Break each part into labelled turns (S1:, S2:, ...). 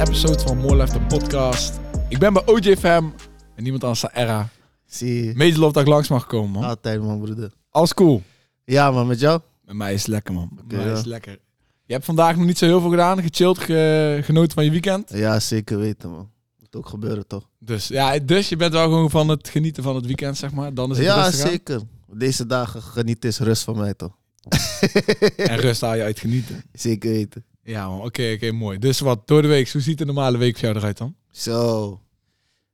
S1: More Life, de podcast. Ik ben bij OJFM en niemand anders dan Era.
S2: Zie je.
S1: Major Love dat ik langs mag komen, man.
S2: Altijd, man, broeder.
S1: Alles cool.
S2: Ja, man, met jou?
S1: Met mij is het lekker, man. Met
S2: Oké,
S1: mij
S2: ja.
S1: is het lekker. Je hebt vandaag nog niet zo heel veel gedaan. Gechilled, ge- genoten van je weekend.
S2: Ja, zeker weten, man. Moet ook gebeuren, toch?
S1: Dus ja, dus je bent wel gewoon van het genieten van het weekend, zeg maar. Dan is het
S2: Ja,
S1: rustig aan.
S2: zeker. Deze dagen geniet eens rust van mij, toch?
S1: En rust haal je uit genieten.
S2: Zeker weten.
S1: Ja, man. Oké, oké, mooi. Dus wat, door de week. Hoe ziet de normale week voor jou eruit dan?
S2: Zo.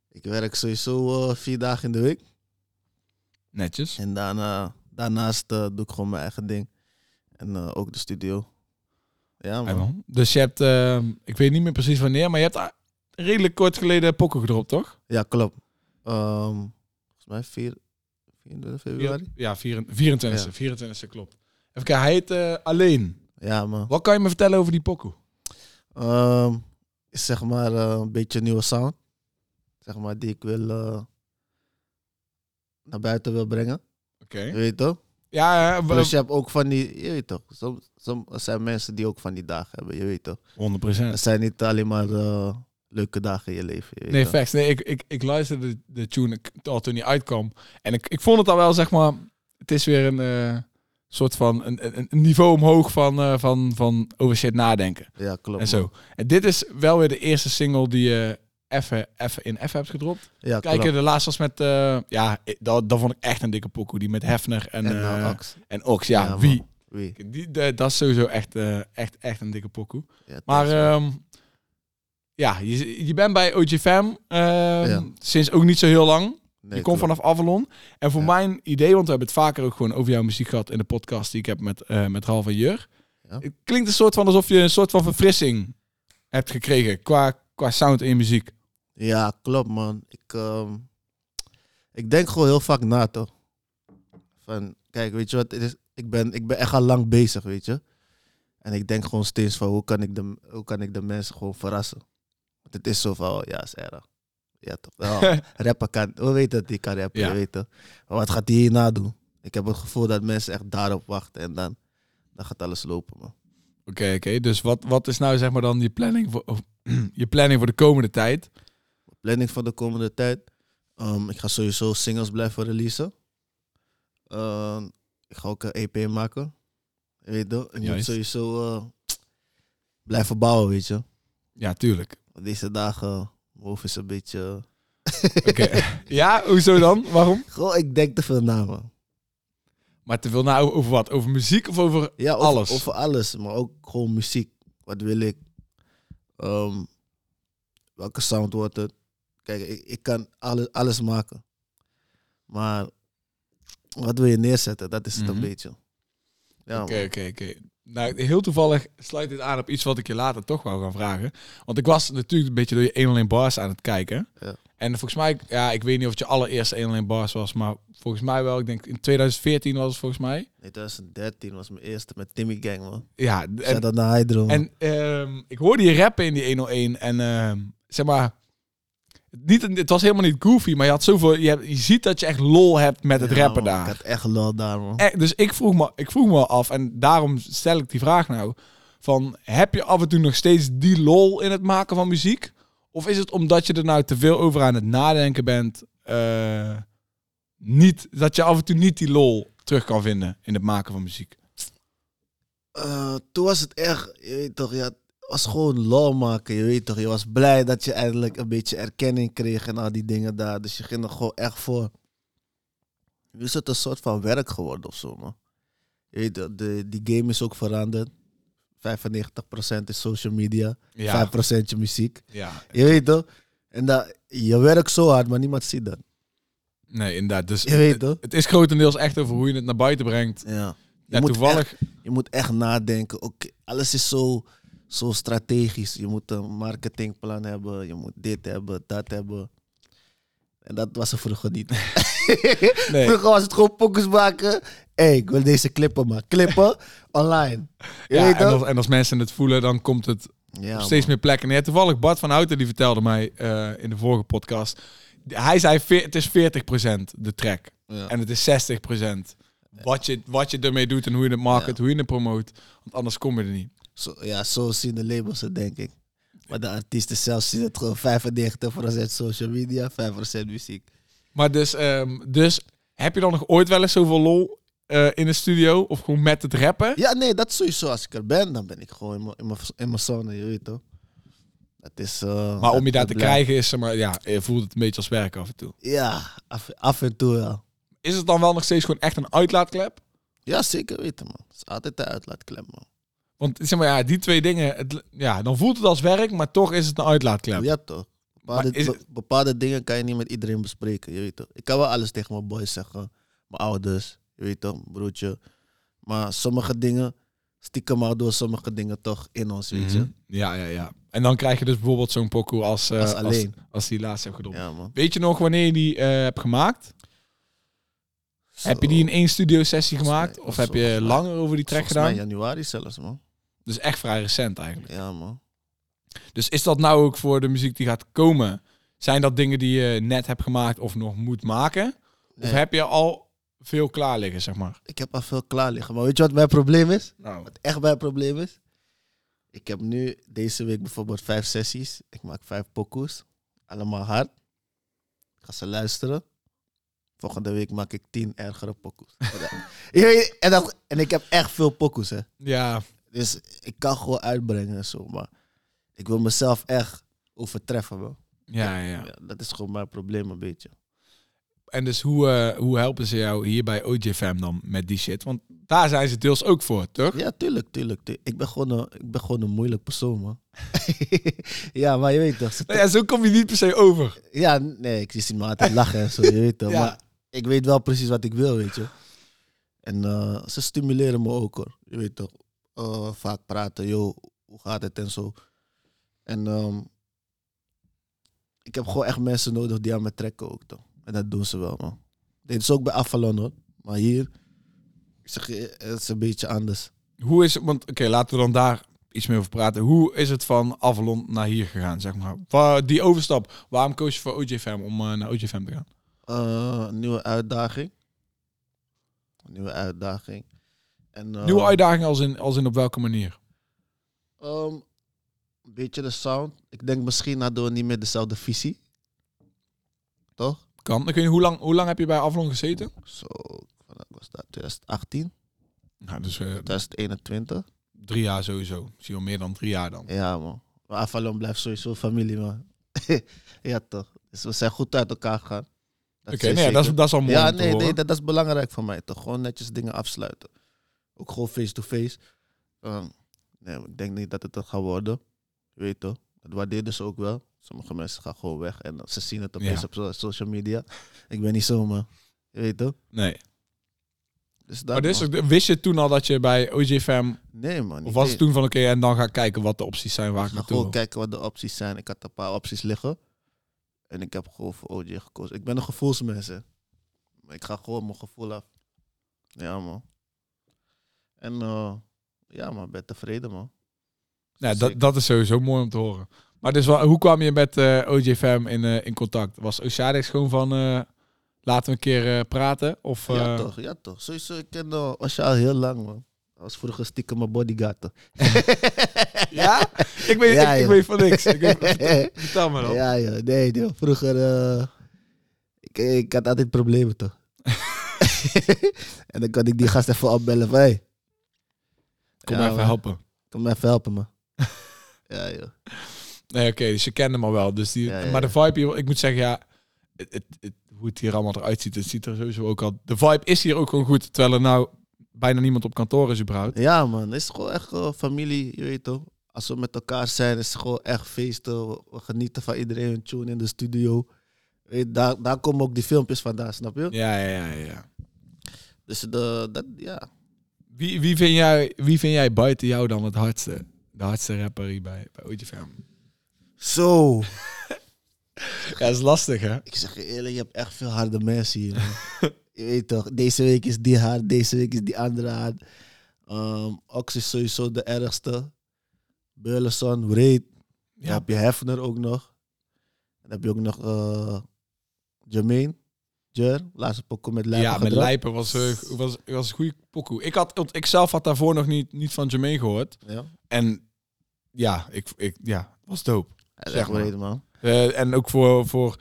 S2: Ik werk sowieso eh, vier dagen in de week.
S1: Netjes.
S2: En daarna, daarnaast eh, doe ik gewoon mijn eigen ding. En eh, ook de studio. Ja,
S1: Ja,
S2: man.
S1: man. Dus je hebt, ehm, ik weet niet meer precies wanneer, maar je hebt ah, redelijk kort geleden pokken gedropt, toch?
S2: Ja, klopt. Ehm, volgens mij 4, 24 februari.
S1: Ja, 24,
S2: Ja.
S1: 24 klopt. Even kijken, hij heet eh, Alleen.
S2: Ja, man.
S1: Wat kan je me vertellen over die pokoe?
S2: Ehm, is zeg maar eh, een beetje een nieuwe sound. Zeg maar die ik wil eh, naar buiten wil brengen.
S1: Oké.
S2: Je weet toch?
S1: Ja, ja,
S2: Plus je hebt ook van die, je weet toch? Soms, soms er zijn mensen die ook van die dagen hebben, je weet toch?
S1: 100%.
S2: Het zijn niet alleen maar eh, leuke dagen in je leven. Je weet
S1: Nee,
S2: toch?
S1: facts. Nee, ik, ik, ik luisterde de, de tune k- al toen die uitkwam. En ik, ik vond het al wel, zeg maar... Het is weer een eh, soort van... Een, een, een niveau omhoog van, eh, van, van over shit nadenken.
S2: Ja, klopt.
S1: en
S2: man.
S1: zo. En dit is wel weer de eerste single die je even, even in F hebt gedropt.
S2: Ja,
S1: Kijken,
S2: klopt.
S1: de laatste was met... eh, ja, ik- dat, dat vond ik echt een dikke pokoe. Die met Hefner en,
S2: En
S1: en,
S2: eh, Ax.
S1: en Ox. Ja,
S2: Ja, man.
S1: wie?
S2: Wie?
S1: Die, de- dat is sowieso echt, eh, echt, echt een dikke pokoe.
S2: Ja,
S1: Maar
S2: thuis, man.
S1: ehm, ja, je, je bent bij OGFM ehm
S2: Ja.
S1: sinds ook niet zo heel lang.
S2: Nee,
S1: je komt
S2: klopt.
S1: vanaf Avalon. En voor
S2: Ja.
S1: mijn idee, want we hebben het vaker ook gewoon over jouw muziek gehad in de podcast die ik heb met, eh met Ralf en Jur.
S2: Ja.
S1: Het klinkt een soort van alsof je een soort van verfrissing hebt gekregen qua, qua sound in je muziek.
S2: Ja, klopt man. Ik, ehm, ik denk gewoon heel vaak na toch. Van, kijk, weet je wat, het is, ik, ben, ik ben echt al lang bezig, weet je. En ik denk gewoon steeds van, hoe kan ik de, hoe kan ik de mensen gewoon verrassen? Want het is zo van, oh, ja, is erg. Ja, toch. Ja, rapper kan, we weten dat die kan rappen,
S1: Ja.
S2: je weet toch. Maar wat gaat die hierna doen? Ik heb het gevoel dat mensen echt daarop wachten en dan, dan gaat alles lopen, man.
S1: Oké, oké. Dus wat, wat is nou zeg maar dan je planning voor, of, je planning voor de komende tijd?
S2: planning van de komende tijd. Ehm, ik ga sowieso singles blijven releasen. Ehm, ik ga ook een EP maken. Je Weet je, ik moet
S1: Juist.
S2: sowieso eh, blijven bouwen, weet je.
S1: Ja, tuurlijk.
S2: Want deze dagen, mijn hoofd is een beetje...
S1: Oké. ja, hoezo dan? Waarom?
S2: Goh, ik denk te veel na, man.
S1: Maar te veel nou over wat? Over muziek of over
S2: Ja, over
S1: Alles.
S2: alles. Over alles, maar ook gewoon muziek. Wat wil ik? Ehm, welke sound wordt het? Kijk, ik, ik kan alles, alles maken. Maar wat wil je neerzetten? Dat is het
S1: Mhm.
S2: een beetje. Ja,
S1: Oké,
S2: man.
S1: oké, oké. Nou, heel toevallig sluit dit aan op iets wat ik je later toch wou gaan vragen. Want ik was natuurlijk een beetje door je 101 bars aan het kijken.
S2: Ja.
S1: En volgens mij, ja, ik weet niet of het je allereerste 101 bars was, maar volgens mij wel. Ik denk in 2014 was het volgens mij.
S2: Nee, 2013 was mijn eerste met Timmy Gang, man.
S1: Ja, en,
S2: Zet dat naar Hydro. man.
S1: en ehm, ik hoorde je rappen in die 101 en ehm, zeg maar... Niet, een- het was helemaal niet goofy, maar je had zoveel. Je, hebt- je ziet dat je echt lol hebt met het
S2: Ja,
S1: rappen
S2: man,
S1: daar.
S2: Ik had echt lol daar, man.
S1: Eh, dus ik vroeg, me, ik vroeg me af, en daarom stel ik die vraag nou: van, heb je af en toe nog steeds die lol in het maken van muziek? Of is het omdat je er nou te veel over aan het nadenken bent, eh, niet, dat je af en toe niet die lol terug kan vinden in het maken van muziek?
S2: Eh, toen was het echt, je weet toch, ja, het was gewoon lol maken, je weet toch. Je was blij dat je eindelijk een beetje erkenning kreeg en al die dingen daar. Dus je ging er gewoon echt voor. Nu is het een soort van werk geworden of zo, man. Je weet, toch, de, die game is ook veranderd. 95% is social media, 5% je muziek.
S1: ja,
S2: Je weet toch? En dat, je werkt zo hard, maar niemand ziet dat.
S1: nee, inderdaad. Dus
S2: Je weet toch?
S1: het is grotendeels echt over hoe je het naar buiten brengt.
S2: Ja.
S1: Ja, toevallig.
S2: Je moet echt nadenken. Oké, alles is zo, zo strategisch. Je moet een marketingplan hebben. Je moet dit hebben, dat hebben. En dat was er vroeger niet.
S1: Nee.
S2: Vroeger was het gewoon pokus maken. Hé, ik wil deze clippen maken. Clippen online. Je
S1: Ja,
S2: weet
S1: en,
S2: toch?
S1: als, en als mensen het voelen, dan komt het
S2: Ja,
S1: op steeds meer plekken. Nee, toevallig Bart van Houten die vertelde mij eh, in de vorige podcast. Hij zei veer- het is 40% de track.
S2: man. Ja.
S1: En het is 60% wat je, wat je ermee doet en hoe je het market, hoe je het promoot. Want anders kom je er niet.
S2: Zo, ja, zo zien de labels het, denk ik. Maar de artiesten zelf zien het gewoon 95% social media, 5% muziek.
S1: Maar dus, ehm, dus heb je dan nog ooit wel eens zoveel lol eh, in de studio? Of gewoon met het rappen?
S2: Ja, nee, dat sowieso. Als ik er ben, dan ben ik gewoon in mijn- in mijn- in mijn zone, je weet toch. Dat is... eh,
S1: Maar om je daar
S2: dat
S1: te
S2: blijft-
S1: krijgen is, zeg maar, ja, je voelt het een beetje als werk af en toe.
S2: Ja, af, af en toe wel.
S1: Is het dan wel nog steeds gewoon echt een uitlaatklep?
S2: Ja, zeker weten, man. Het is altijd de uitlaatklep, man.
S1: Want zeg maar, ja, die twee dingen, het, ja, dan voelt het als werk, maar toch is het een uitlaatklep.
S2: Ja, toch? Bepaalde,
S1: Maar is het-
S2: be- bepaalde dingen kan je niet met iedereen bespreken, je weet toch? Ik kan wel alles tegen mijn boys zeggen, mijn ouders, je weet toch, mijn broertje. Maar sommige dingen, stiekem houden door sommige dingen toch in ons, weet je?
S1: Mhm. Ja, ja, ja. En dan krijg je dus bijvoorbeeld zo'n pokoe als, eh,
S2: Als
S1: als, als,
S2: alleen.
S1: die laatst heb gedaan.
S2: Ja, man.
S1: Weet je nog wanneer je die eh, hebt gemaakt? Heb je die in één studio sessie
S2: Volgens
S1: gemaakt?
S2: mij-
S1: Of heb je
S2: volgens mij-
S1: langer over die track
S2: Volgens
S1: gedaan?
S2: mij januari zelfs, man.
S1: Dus echt vrij recent eigenlijk.
S2: Ja, man.
S1: Dus is dat nou ook voor de muziek die gaat komen? Zijn dat dingen die je net hebt gemaakt of nog moet maken?
S2: Nee,
S1: Of heb je al veel klaar liggen, zeg maar?
S2: Ik heb al veel klaar liggen, maar weet je wat mijn probleem is?
S1: Nou.
S2: Wat echt mijn probleem is? Ik heb nu deze week bijvoorbeeld vijf sessies. Ik maak vijf pokoes. Allemaal hard. Ik ga ze luisteren. Volgende week maak ik tien ergere pokoes. Je weet, en, dat, en ik heb echt veel pokoes, hè.
S1: Ja,
S2: Dus ik kan gewoon uitbrengen en zo. Maar ik wil mezelf echt overtreffen, bro.
S1: ja, ja.
S2: Ja, dat is gewoon mijn probleem een beetje.
S1: En dus hoe, eh, hoe helpen ze jou hier bij OJFM dan met die shit? Want daar zijn ze deels ook voor, toch?
S2: Ja, tuurlijk, tuurlijk. tuurlijk. Ik, ben gewoon een, ik ben gewoon een moeilijk persoon, man. ja, maar je weet toch. ze-
S1: Nou ja, zo kom je niet per se over.
S2: Ja, nee, ik zie me altijd lachen en zo, je weet toch.
S1: Ja.
S2: Maar ik weet wel precies wat ik wil, weet je. En eh, ze stimuleren me ook hoor, je weet toch. Eh, vaak praten, joh, hoe gaat het en zo. En ehm, ik heb gewoon echt mensen nodig die aan me trekken ook toch. En dat doen ze wel, man. Dit is ook bij Avalon hoor, maar hier, ik zeg je, het is een beetje anders.
S1: Hoe is het, want oké, laten we dan daar iets meer over praten. Hoe is het van Avalon naar hier gegaan, zeg maar? Wa- die overstap, waarom koos je voor OJFM om eh, naar OJFM te gaan?
S2: Eh, een nieuwe uitdaging. Een nieuwe uitdaging. En, eh,
S1: Nieuwe uitdaging als in, als in op welke manier?
S2: Ehm, een beetje de sound. Ik denk misschien hadden we niet meer dezelfde visie. Toch?
S1: Kan. Ik weet niet, hoe lang, hoe lang heb je bij Avalon gezeten?
S2: Zo, wat was dat? 2018,
S1: Nou, dus eh,
S2: 2021.
S1: drie jaar sowieso. Misschien wel meer dan drie jaar dan.
S2: Ja, man. Maar Avalon blijft sowieso familie, man. ja, toch? Dus we zijn goed uit elkaar gegaan.
S1: Oké, nee,
S2: is
S1: dat, is,
S2: zeker.
S1: dat is al mooi
S2: Ja,
S1: om te
S2: nee,
S1: horen.
S2: nee dat, dat is belangrijk voor mij toch? Gewoon netjes dingen afsluiten. Ook gewoon face-to-face. Ehm, nee, maar ik denk niet dat het dat gaat worden. Je weet toch? Dat waardeerden ze ook wel. Sommige mensen gaan gewoon weg en ze zien het opeens
S1: Ja.
S2: op so- social media. Ik ben niet zomaar. Je weet toch?
S1: nee.
S2: Dus dat,
S1: Maar dus,
S2: man.
S1: wist je toen al dat je bij OJFM
S2: Nee, man.
S1: Of
S2: niet
S1: was
S2: eens.
S1: het toen van oké, en dan ga ik kijken wat de opties zijn waar ik
S2: ga
S1: naartoe
S2: gewoon
S1: wil.
S2: kijken wat de opties zijn. Ik had een paar opties liggen. En ik heb gewoon voor OJ gekozen. Ik ben een gevoelsmens, hè. Maar ik ga gewoon mijn gevoel af. Ja, man. En eh, ja, man, ben tevreden, man. Dus
S1: Nou,
S2: Zeker.
S1: dat, dat is sowieso mooi om te horen. Maar dus wa- hoe kwam je met eh OJFM in, eh, in contact? Was Oceadex gewoon van eh, laten we een keer eh, praten? Of, eh,
S2: Ja, toch, ja, toch. Sowieso, ik ken eh, Osha al heel lang, man. Hij was vroeger stiekem mijn bodyguard. toch.
S1: ja? Ik weet,
S2: Ja,
S1: ik, ik
S2: joh.
S1: weet van niks. Ik weet, vertel, vertel me dan.
S2: Ja, joh. Nee, joh. Vroeger... eh, ik, ik had altijd problemen, toch? en dan kon ik die gast even opbellen van... Hey.
S1: Kom
S2: Ja,
S1: even
S2: man.
S1: helpen.
S2: Kom me even helpen, man. ja, joh.
S1: Nee, oké, dus je kende hem al wel. Dus die,
S2: Ja, ja,
S1: Maar de vibe hier, ik moet zeggen, ja, het, het, het- hoe het hier allemaal eruit ziet, het ziet er sowieso ook al... De vibe is hier ook gewoon goed, terwijl er nou bijna niemand op kantoor is überhaupt.
S2: Ja, man. Het is gewoon echt eh, familie, je weet toch? Als we met elkaar zijn, is het gewoon echt feesten. We we genieten van iedereen, hun tune in de studio. Weet, daar, daar komen ook die filmpjes vandaan, snap je?
S1: Ja, ja, ja, ja.
S2: Dus de, dat, ja.
S1: Wie, wie, vind jij, wie vind jij buiten jou dan het hardste? De hardste rapper hier bij, bij OJFM?
S2: Zo.
S1: Ja, is lastig, hè?
S2: Ik zeg je eerlijk, je hebt echt veel harde mensen hier. man. je weet toch, deze week is die hard, deze week is die andere hard. Ehm Ox is sowieso de ergste. Burleson, Wreed. Dan
S1: Ja.
S2: heb je Hefner ook nog. Dan heb je ook nog eh Jermaine. Jer, laatste pokoe met Lijpen
S1: ja, met
S2: gedrapt.
S1: Lijpen was, eh, was, was een goede pokoe. Ik, had, want ik zelf had daarvoor nog niet, niet van Jermaine gehoord.
S2: Ja.
S1: En ja, ik, ik, ja, was dope.
S2: Hij is
S1: Zeg
S2: echt
S1: maar.
S2: breed, man.
S1: Eh, en ook voor, voor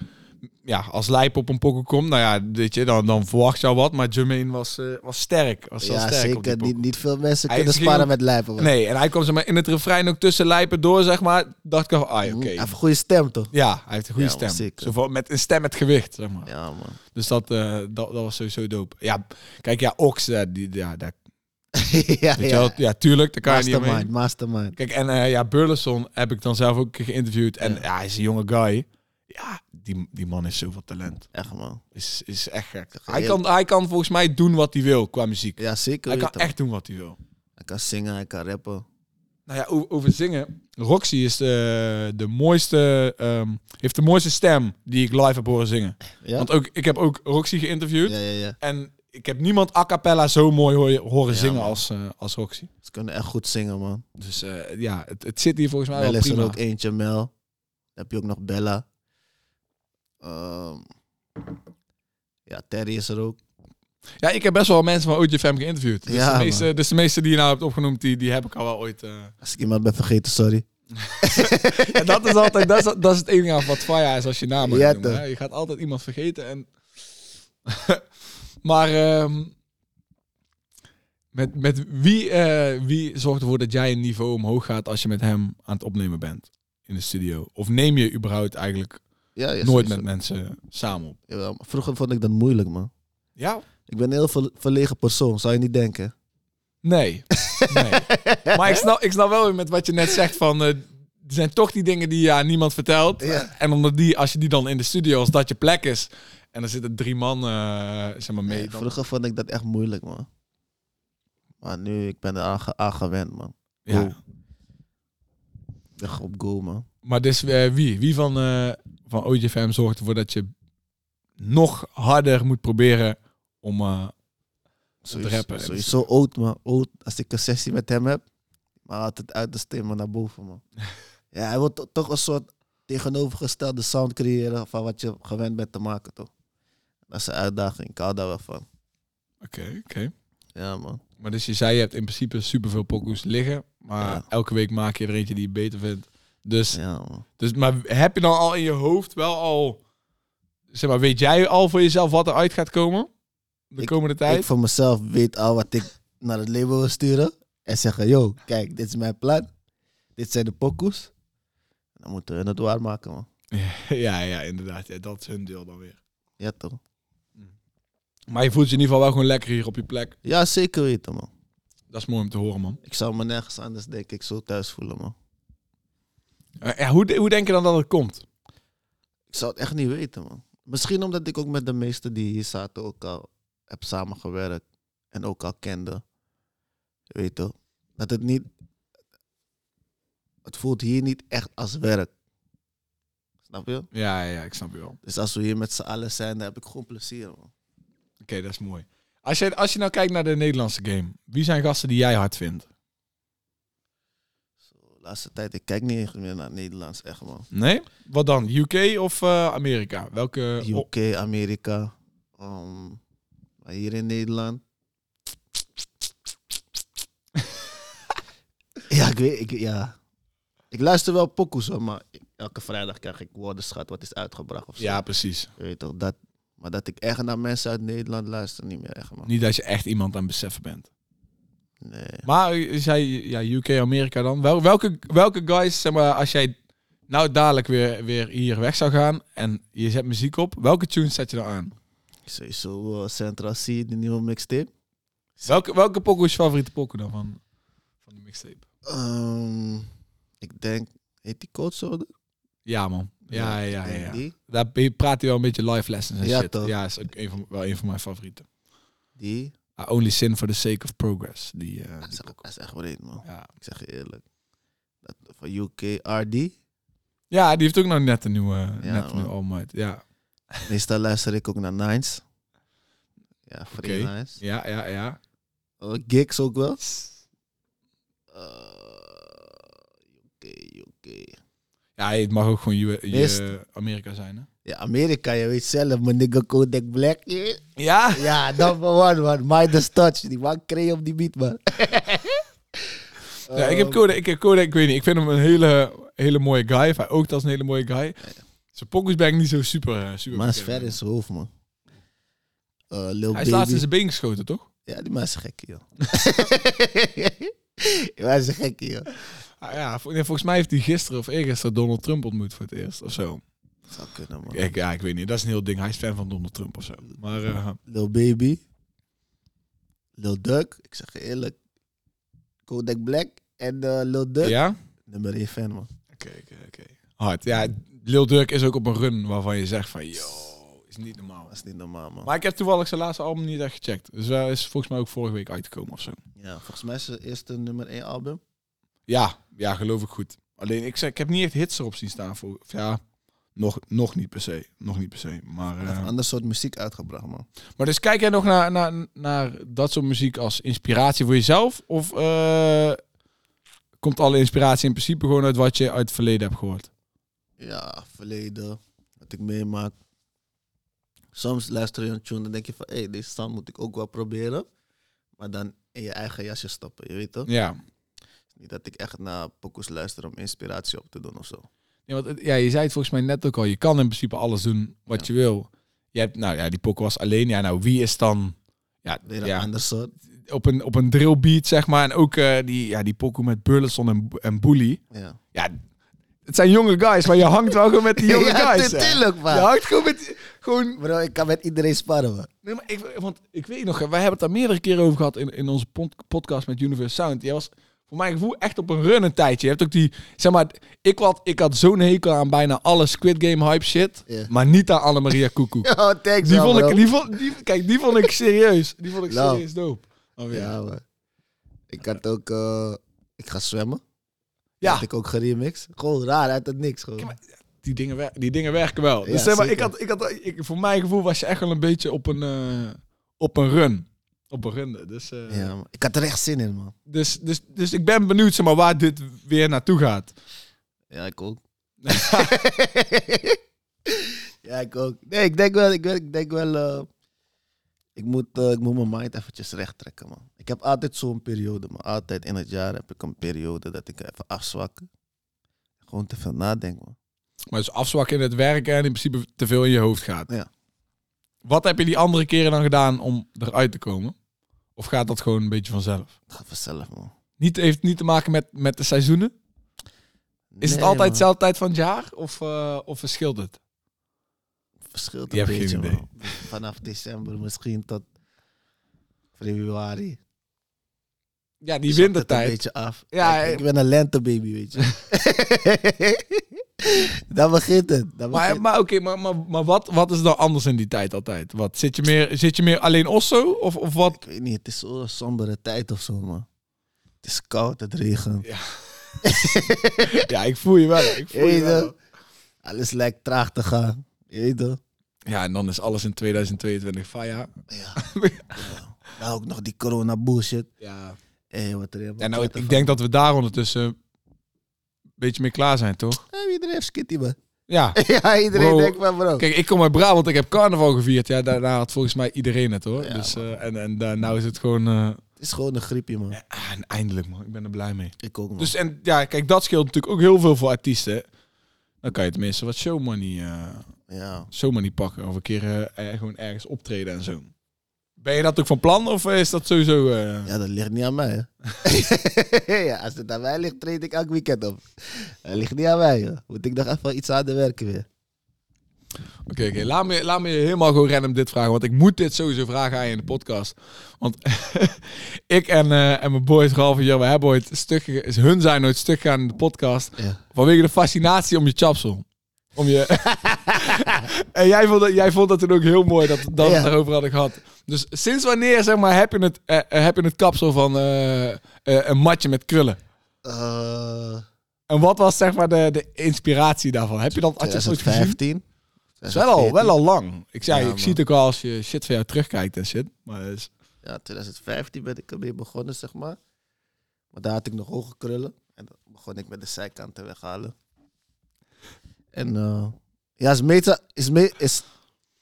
S1: ja, als Lijp op een pokkel komt, nou ja, weet je, dan, dan verwacht je al wat. Maar Jermaine was, eh, was sterk. Was wel
S2: Ja,
S1: sterk op die
S2: zeker.
S1: pokkel.
S2: Niet, niet veel mensen
S1: Hij
S2: kunnen
S1: ging-
S2: sparen met lijpen. man.
S1: Nee, en hij kwam zeg maar, in het refrein ook tussen Lijpen door, zeg maar. Dacht ik al, ah, oké.
S2: Hij heeft Hm, een goede stem, toch?
S1: Ja, hij heeft een goede
S2: Ja,
S1: stem.
S2: zeker.
S1: Zo van- met een stem met gewicht, zeg maar.
S2: Ja, man.
S1: Dus dat, eh, dat, dat was sowieso dope. Ja, kijk, ja, Ox, eh, die, ja, daar,
S2: ja,
S1: weet je wel,
S2: ja.
S1: ja, tuurlijk, daar kan je niet omheen.
S2: Mastermind, mastermind.
S1: Kijk, en eh, ja, Burleson heb ik dan zelf ook geïnterviewd. En ja, hij is een jonge guy. Ja, die, die man heeft zoveel talent.
S2: Echt, man.
S1: Is, is echt gek.
S2: Ja,
S1: Hij kan, hij kan volgens mij doen wat hij wil qua muziek.
S2: Ja, zeker.
S1: Hij
S2: weet
S1: kan
S2: je, man.
S1: echt doen wat hij wil.
S2: Hij kan zingen, hij kan rappen.
S1: Nou ja, o- over zingen. Roxy is de, de mooiste, ehm, heeft de mooiste stem die ik live heb horen zingen.
S2: Ja?
S1: Want ook, ik heb ook Roxy geïnterviewd.
S2: ja, ja, ja.
S1: En ik heb niemand a cappella zo mooi hoor- horen
S2: Ja,
S1: zingen
S2: man.
S1: als, eh, als Roxy.
S2: Ze kunnen echt goed zingen, man.
S1: Dus eh, ja, het, het zit hier volgens mij
S2: Mel
S1: wel
S2: is er
S1: prima.
S2: ook eentje, Mel. Dan heb je ook nog Bella. Ehm, ja, Terry is er ook.
S1: Ja, ik heb best wel mensen van OJFM geïnterviewd. Dus,
S2: Ja,
S1: de meeste, dus de meeste die je nou hebt opgenoemd, die, die heb ik al wel ooit... eh.
S2: Als ik iemand ben vergeten, sorry.
S1: En dat is altijd, dat is, dat is het enige aan wat fire is als je naam
S2: Ja,
S1: ja,
S2: toch.
S1: Je gaat altijd iemand vergeten. En... maar ehm, met, met wie, eh, wie zorgt ervoor dat jij een niveau omhoog gaat als je met hem aan het opnemen bent in de studio? Of neem je überhaupt eigenlijk
S2: Ja, ja,
S1: nooit
S2: sowieso.
S1: met mensen samen op?
S2: Jawel, maar Vroeger vond ik dat moeilijk, man.
S1: Ja?
S2: Ik ben een heel verle- verlegen persoon, zou je niet denken.
S1: Nee. nee. Maar ik snap, ik snap wel weer met wat je net zegt van... eh, er zijn toch die dingen die je aan niemand vertelt.
S2: Ja.
S1: En omdat die, als je die dan in de studio, als dat je plek is... En er zitten drie man eh, zeg maar mee.
S2: Nee,
S1: dan-
S2: vroeger vond ik dat echt moeilijk, man. Maar nu, ik ben er aan, ge- aan gewend, man.
S1: ja.
S2: Go. Ik ben op go, man.
S1: Maar dus eh, wie? Wie van, eh van OJFM zorgt ervoor dat je nog harder moet proberen om... eh,
S2: Sowieso,
S1: rappen.
S2: sowieso oud, man. Oud. Als ik een sessie met hem heb, maar altijd uit de steen, maar naar boven, man. ja, hij wil to- toch een soort tegenovergestelde sound creëren van wat je gewend bent te maken, toch? Dat is een uitdaging. Ik hou daar wel van.
S1: Oké, oké.
S2: Ja, man.
S1: Maar dus je zei, je hebt in principe superveel pokoes liggen. Maar
S2: Ja.
S1: elke week maak je er eentje die je beter vindt. Dus
S2: Ja, man.
S1: Dus, maar heb je dan al in je hoofd wel al... Zeg maar, weet jij al voor jezelf wat eruit gaat komen? De
S2: Ik-
S1: komende
S2: Ik
S1: tijd?
S2: voor mezelf weet al wat ik naar het label wil sturen. En zeggen, yo, kijk, dit is mijn plan. Dit zijn de pokoes. Dan moeten we het waarmaken, man.
S1: ja, ja, inderdaad. Ja, dat is hun deel dan weer.
S2: Ja, toch?
S1: Maar je voelt je in ieder geval wel gewoon lekker hier op je plek.
S2: Ja, zeker weten, man.
S1: Dat is mooi om te horen, man.
S2: Ik zou me nergens anders, denk ik, zo thuis voelen, man.
S1: Eh, Ja, hoe, de- hoe denk je dan dat het komt?
S2: Ik zou het echt niet weten, man. Misschien omdat ik ook met de meesten die hier zaten ook al heb samengewerkt. En ook al kende. Je weet toch? Dat het niet... Het voelt hier niet echt als werk. Snap je?
S1: Ja, ja, ik snap je wel. Oké,
S2: Dus als we hier met z'n allen zijn, dan heb ik gewoon plezier, man.
S1: dat is mooi. Als je, als je nou kijkt naar de Nederlandse game. Wie zijn gasten die jij hard vindt?
S2: Zo, de laatste tijd, ik kijk niet echt meer naar het Nederlands, echt, man.
S1: Nee? Wat dan? UK of eh, Amerika? Welke... oh,
S2: UK, Amerika. ehm, maar hier in Nederland... ja, ik weet, ik, ja. Ik luister wel pokoes, hoor, maar elke vrijdag krijg ik woordenschat wat is uitgebracht of zo.
S1: ja, precies.
S2: Je weet toch, dat... Maar dat ik echt naar mensen uit Nederland luister, niet meer echt, man.
S1: Niet dat je echt iemand aan het beseffen bent.
S2: Nee.
S1: Maar eh, zei ja, UK, Amerika dan. Wel, welke, welke guys, zeg maar, als jij nou dadelijk weer, weer hier weg zou gaan en je zet muziek op, welke tunes zet je dan aan?
S2: Sowieso eh, Central C, de nieuwe mixtape.
S1: Welke, welke pokoe is je favoriete pokoe dan van, van die mixtape?
S2: Ehm, ik denk, heet die Cold Shoulder?
S1: Ja, man. Ja,
S2: ik
S1: ja, ja.
S2: denk
S1: ja.
S2: Die,
S1: Daar be- praat hij wel een beetje live lessons en
S2: Ja,
S1: shit.
S2: toch?
S1: Ja, is ook een van, wel een van mijn favorieten.
S2: die.
S1: I only sin for the sake of progress. Die, eh,
S2: Dat
S1: die
S2: is, echt-
S1: pokoe.
S2: dat is echt breed, man.
S1: ja.
S2: Ik zeg je eerlijk. Dat, van UK, RD.
S1: ja, die heeft ook nog net een nieuwe, net een
S2: man.
S1: nieuwe album uit. Ja.
S2: Meestal luister ik ook naar Nines. Ja, Free
S1: Oké.
S2: Nines.
S1: ja, ja, ja.
S2: Eh, gigs ook wel. Eh, UK, UK.
S1: Ja, het mag ook gewoon je,
S2: Mist.
S1: je Amerika zijn, hè?
S2: Ja, Amerika, je weet zelf, mijn nigga Kodak Black. je weet.
S1: Ja.
S2: Ja, number one, man. Midas Touch. Die man kreeg op die beat, man. Eh, Ehm,
S1: Ja, ik heb Kodak, ik heb Kodak, ik weet niet, ik vind hem een hele, hele mooie guy. Of hij oogt als een hele mooie guy. Zijn pokus ben ik niet zo super. eh, super
S2: Maar is
S1: bekend
S2: ver
S1: mee.
S2: in zijn hoofd, man. Eh Lil
S1: Hij is
S2: Baby.
S1: laatst in zijn been geschoten, toch?
S2: Ja, die man is gek, joh. die man is gek, joh.
S1: Ah, ja, vol- nee, volgens mij heeft hij gisteren of eergisteren Donald Trump ontmoet voor het eerst of zo.
S2: Zou kunnen, man.
S1: Ik, ja, ik weet niet. Dat is een heel ding. Hij is fan van Donald Trump of zo. Maar eh,
S2: Lil Baby. Lil Duck. Ik zeg je eerlijk. Kodak Black en eh, Lil Duck.
S1: ja?
S2: Nummer 1 fan, man.
S1: Oké, oké, oké. Hard. Ja, Lil Durk is ook op een run waarvan je zegt van, yo, is niet normaal.
S2: Dat is niet normaal, man.
S1: Maar ik heb toevallig zijn laatste album niet echt gecheckt. Dus dat is volgens mij ook vorige week uitgekomen of zo.
S2: Ja, volgens mij is het eerste nummer 1 album.
S1: Ja, ja, geloof ik goed. Alleen ik, zeg, ik heb niet echt hits erop zien staan. Voor, of ja, nog, nog niet per se. Nog niet per se. Maar,
S2: Hij heeft
S1: eh,
S2: een ander soort muziek uitgebracht, man.
S1: maar dus kijk jij nog naar, naar, naar dat soort muziek als inspiratie voor jezelf? Of eh, komt alle inspiratie in principe gewoon uit wat je uit het verleden hebt gehoord?
S2: Ja, verleden. Wat ik meemaak. Soms luister je een tune en denk je van... Hé, hey, deze sound moet ik ook wel proberen. Maar dan in je eigen jasje stappen, je weet toch?
S1: Ja.
S2: Niet dat ik echt naar pokus luister om inspiratie op te doen of zo.
S1: Ja, want het- ja, je zei het volgens mij net ook al. Je kan in principe alles doen wat je wil. Je hebt, nou ja, die pok was alleen. Ja, nou, wie is dan... Ja,
S2: Weer een
S1: ja
S2: ander soort.
S1: op, een, op een drillbeat, zeg maar. En ook eh, die, ja, die pokoe met Burleson en, en Bully.
S2: Ja.
S1: Ja, het zijn jonge guys, maar je hangt wel gewoon met die jonge
S2: ja,
S1: guys. hè.
S2: Natuurlijk,
S1: Je
S2: man.
S1: hangt gewoon met... die- Gewoon,
S2: Bro, ik kan met iedereen sparren, man.
S1: nee, maar ik, want ik weet nog, wij hebben het daar meerdere keren over gehad in, in onze pod- podcast met Universe Sound. Jij was voor mijn gevoel echt op een run een tijdje. Je hebt ook die, zeg maar, ik had, ik had zo'n hekel aan bijna alle Squid Game hype shit,
S2: Ja.
S1: maar niet aan Annemaria Koekoek.
S2: Oh, thanks,
S1: Die
S2: man,
S1: vond
S2: bro.
S1: ik, die vond, die, kijk, die vond ik serieus. Die vond ik
S2: Nou.
S1: serieus dope. Oh, ja.
S2: Ja, man. Ik had ook... eh, ik ga zwemmen.
S1: Ja.
S2: Had ik ook geremixed. Gewoon raar, uit het niks. Gewoon.
S1: Die dingen, wer- die dingen werken wel. Dus
S2: Ja,
S1: zeg maar, ik
S2: zeker.
S1: had, ik had, ik, voor mijn gevoel was je echt wel een beetje op een, eh, op een run. Op een runde. Dus, eh,
S2: Ja, man. Ik had er echt zin in, man.
S1: dus, dus, dus ik ben benieuwd zeg maar, waar dit weer naartoe gaat.
S2: Ja, ik ook. ja, ik ook. Nee, ik denk wel, ik, wel- ik denk wel, eh, ik, moet, eh, ik moet mijn mind eventjes recht trekken, man. Ik heb altijd zo'n periode, maar altijd in het jaar heb ik een periode dat ik even afzwak. Gewoon te veel nadenk, man.
S1: Maar dus afzwakken in het werken en in principe te veel in je hoofd gaat.
S2: Ja.
S1: Wat heb je die andere keren dan gedaan om eruit te komen? Of gaat dat gewoon een beetje vanzelf?
S2: Het gaat vanzelf, man.
S1: Niet, heeft niet te maken met, met de seizoenen? Is het
S2: Nee,
S1: altijd
S2: man.
S1: dezelfde tijd van het jaar? Of, eh, of verschilt het?
S2: Verschilt
S1: Je
S2: een
S1: hebt geen
S2: beetje,
S1: idee.
S2: man. Vanaf december misschien tot februari.
S1: Ja, die
S2: Zakt het een
S1: wintertijd.
S2: beetje af.
S1: Ja, eh,
S2: Ja, ik, ben een lentebaby, weet je. dan begint het. Dan
S1: Maar,
S2: begint-
S1: maar oké, maar, maar, maar wat, wat is dan anders in die tijd altijd? Wat, zit, je meer, zit je meer alleen Osso? Of, of wat?
S2: Ik weet niet, het is zo'n sombere tijd of zo, man. Het is koud, het regent.
S1: Ja, eh. ik voel je wel. Ik voel je
S2: Weet
S1: wel.
S2: je? Alles lijkt traag te gaan. Je weet toch?
S1: Ja, en dan is alles in 2022 faya.
S2: Ja. ja. Nou, ook nog die corona bullshit.
S1: Ja.
S2: Hé, wat er
S1: Ja, nou, ik denk dat we daar ondertussen een beetje mee klaar zijn, toch?
S2: iedereen heeft skitty, man.
S1: Ja.
S2: ja, iedereen
S1: Bro.
S2: denkt van, bro.
S1: Kijk, ik kom uit Brabant, ik heb carnaval gevierd. Ja, daarna had volgens mij iedereen het, hoor.
S2: Ja,
S1: dus, eh, en en daar nou is het gewoon... eh,
S2: Het is gewoon een griepje, man.
S1: ah, en eindelijk, man. Ik ben er blij mee.
S2: Ik ook, man.
S1: Dus en ja, kijk, dat scheelt natuurlijk ook heel veel voor artiesten. Dan kan je tenminste wat show money, eh,
S2: ja.
S1: show money pakken. Of een keer eh, er- gewoon ergens optreden en zo. Ben je dat ook van plan of is dat sowieso... eh,
S2: ja, dat ligt niet aan mij, hè. ja, als het aan mij ligt, treed ik elk weekend op. Dat ligt niet aan mij, joh. Moet ik nog even iets harder werken weer.
S1: Oké, oké. Laat, me, laat me je helemaal gewoon random dit vragen. Want ik moet dit sowieso vragen aan je in de podcast. Want ik en, eh, en mijn boys Ralf en Jan, we hebben ooit stuk... gege- is- Hun zijn nooit stuk gegaan in de podcast.
S2: Ja.
S1: Vanwege de fascinatie om je chapsel. Om je... en jij vond, dat, jij vond dat toen ook heel mooi dat, dat we
S2: Ja.
S1: het daarover hadden gehad. Dus sinds wanneer zeg maar, heb, je het, eh, eh, heb je het kapsel van eh, eh, een matje met krullen?
S2: Eh,
S1: En wat was zeg maar de, de inspiratie daarvan? Heb je dat, had je dat ooit gezien?
S2: 2015.
S1: Het is wel al, wel al lang. Ik, zei,
S2: Ja,
S1: ik
S2: man.
S1: zie het ook al als je shit van jou terugkijkt en shit. Maar dat is-
S2: Ja, 2015 ben ik ermee begonnen, zeg maar. Maar daar had ik nog hoge krullen. En dan begon ik met de zijkanten weghalen. En eh, ja, is meta... Is me, is,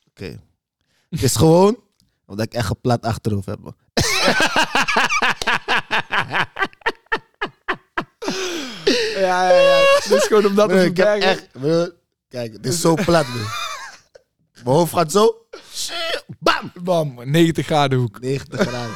S2: Oké. Het is gewoon omdat ik echt een plat achterhoofd heb. man.
S1: Ja, ja, ja. Dus gewoon omdat
S2: Nee,
S1: het
S2: ik heb
S1: verbergen-
S2: echt... broer, Kijk, het is zo plat, nu. Mijn hoofd gaat zo... Bam!
S1: Bam, 90 graden hoek.
S2: 90 graden.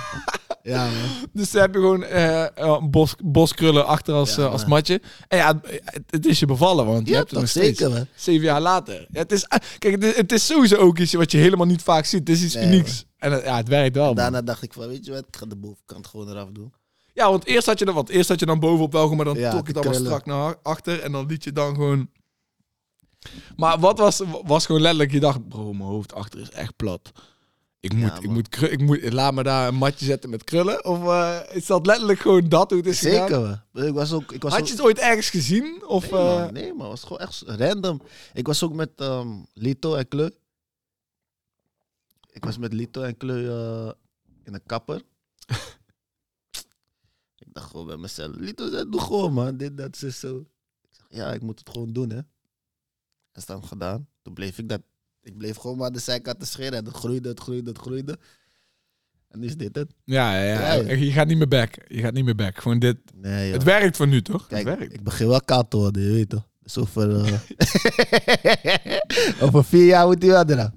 S2: Ja, man.
S1: Dus dan heb je gewoon eh, eh, bos, boskrullen achter als,
S2: Ja,
S1: eh, als
S2: maar-
S1: matje. En ja, het, het is je bevallen, want je
S2: Ja,
S1: hebt het
S2: toch
S1: nog steeds.
S2: zeker, man.
S1: Zeven jaar later. Ja, het is, ah, kijk, het is, het is sowieso ook iets wat je helemaal niet vaak ziet. Het is iets
S2: Nee,
S1: unieks. En het- ja, het werkt wel. man.
S2: Daarna dacht ik van, weet je wat? Ik ga de bovenkant gewoon eraf doen.
S1: Ja, want eerst had je dan wat. Eerst had je dan bovenop wel, maar dan
S2: Ja,
S1: trok je het
S2: die
S1: allemaal
S2: krullen.
S1: strak naar achter. En dan liet je dan gewoon. Maar wat was, was gewoon letterlijk, je dacht, bro, mijn hoofd achter is echt plat. Ik moet, ik
S2: man.
S1: moet, kru- ik moet, laat me daar een matje zetten met krullen. Of eh, is dat letterlijk gewoon dat hoe het is gegaan?
S2: Zeker, man. Ik was ook... Ik was
S1: Had
S2: ook-
S1: je het ooit ergens gezien? Of,
S2: Nee,
S1: eh,
S2: man. Nee, man. Het was gewoon echt random. Ik was ook met ehm, Lito en Kleu. Ik was met Lito en Kleu eh, in een kapper. ik dacht gewoon bij mezelf, Lito, zei, doe gewoon, man. Dit, dat, zo, zo. Ik zeg, ja, ik moet het gewoon doen, hè. Dat is dan gedaan. Toen bleef ik dat... Ik bleef gewoon maar de zijkant te scheren. En dat groeide, het groeide, het groeide. En nu is dit het.
S1: ja, ja, ja.
S2: Ja,
S1: Je gaat niet meer back. Je gaat niet meer back. Gewoon dit.
S2: Nee, joh.
S1: Het werkt voor nu, toch?
S2: Kijk,
S1: het werkt.
S2: ik begin wel koud te worden, je weet toch? Dus over, eh, over vier jaar moet hij wel eraf.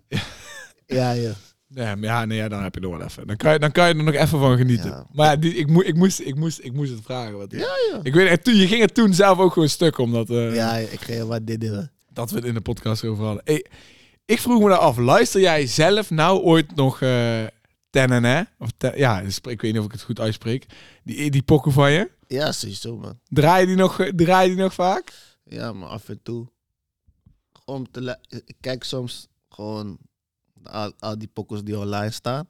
S2: Ja, ja.
S1: Ja, maar ja, nee, ja, dan heb je er wel even. Dan kan je, dan kan je er nog even van genieten.
S2: Ja.
S1: Maar ja, die, ik, moe- ik, moest, ik, moest, ik moest het vragen. Wat
S2: Ja, ja.
S1: Ik weet, het, toen, je ging het toen zelf ook gewoon stuk, omdat eh,
S2: Ja, ik ga helemaal dit doen.
S1: dat we het in de podcast over hadden. Hey, ik vroeg me nou af, luister jij zelf nou ooit nog eh Tennen, hè? Of Ten- ja, ik weet niet of ik het goed uitspreek. Die, die pokken van je.
S2: Ja, sowieso, man.
S1: Draai je die nog, eh, draai je die nog vaak?
S2: Ja, maar af en toe. Om te lu- ik kijk soms gewoon al, al die pokkels die online staan.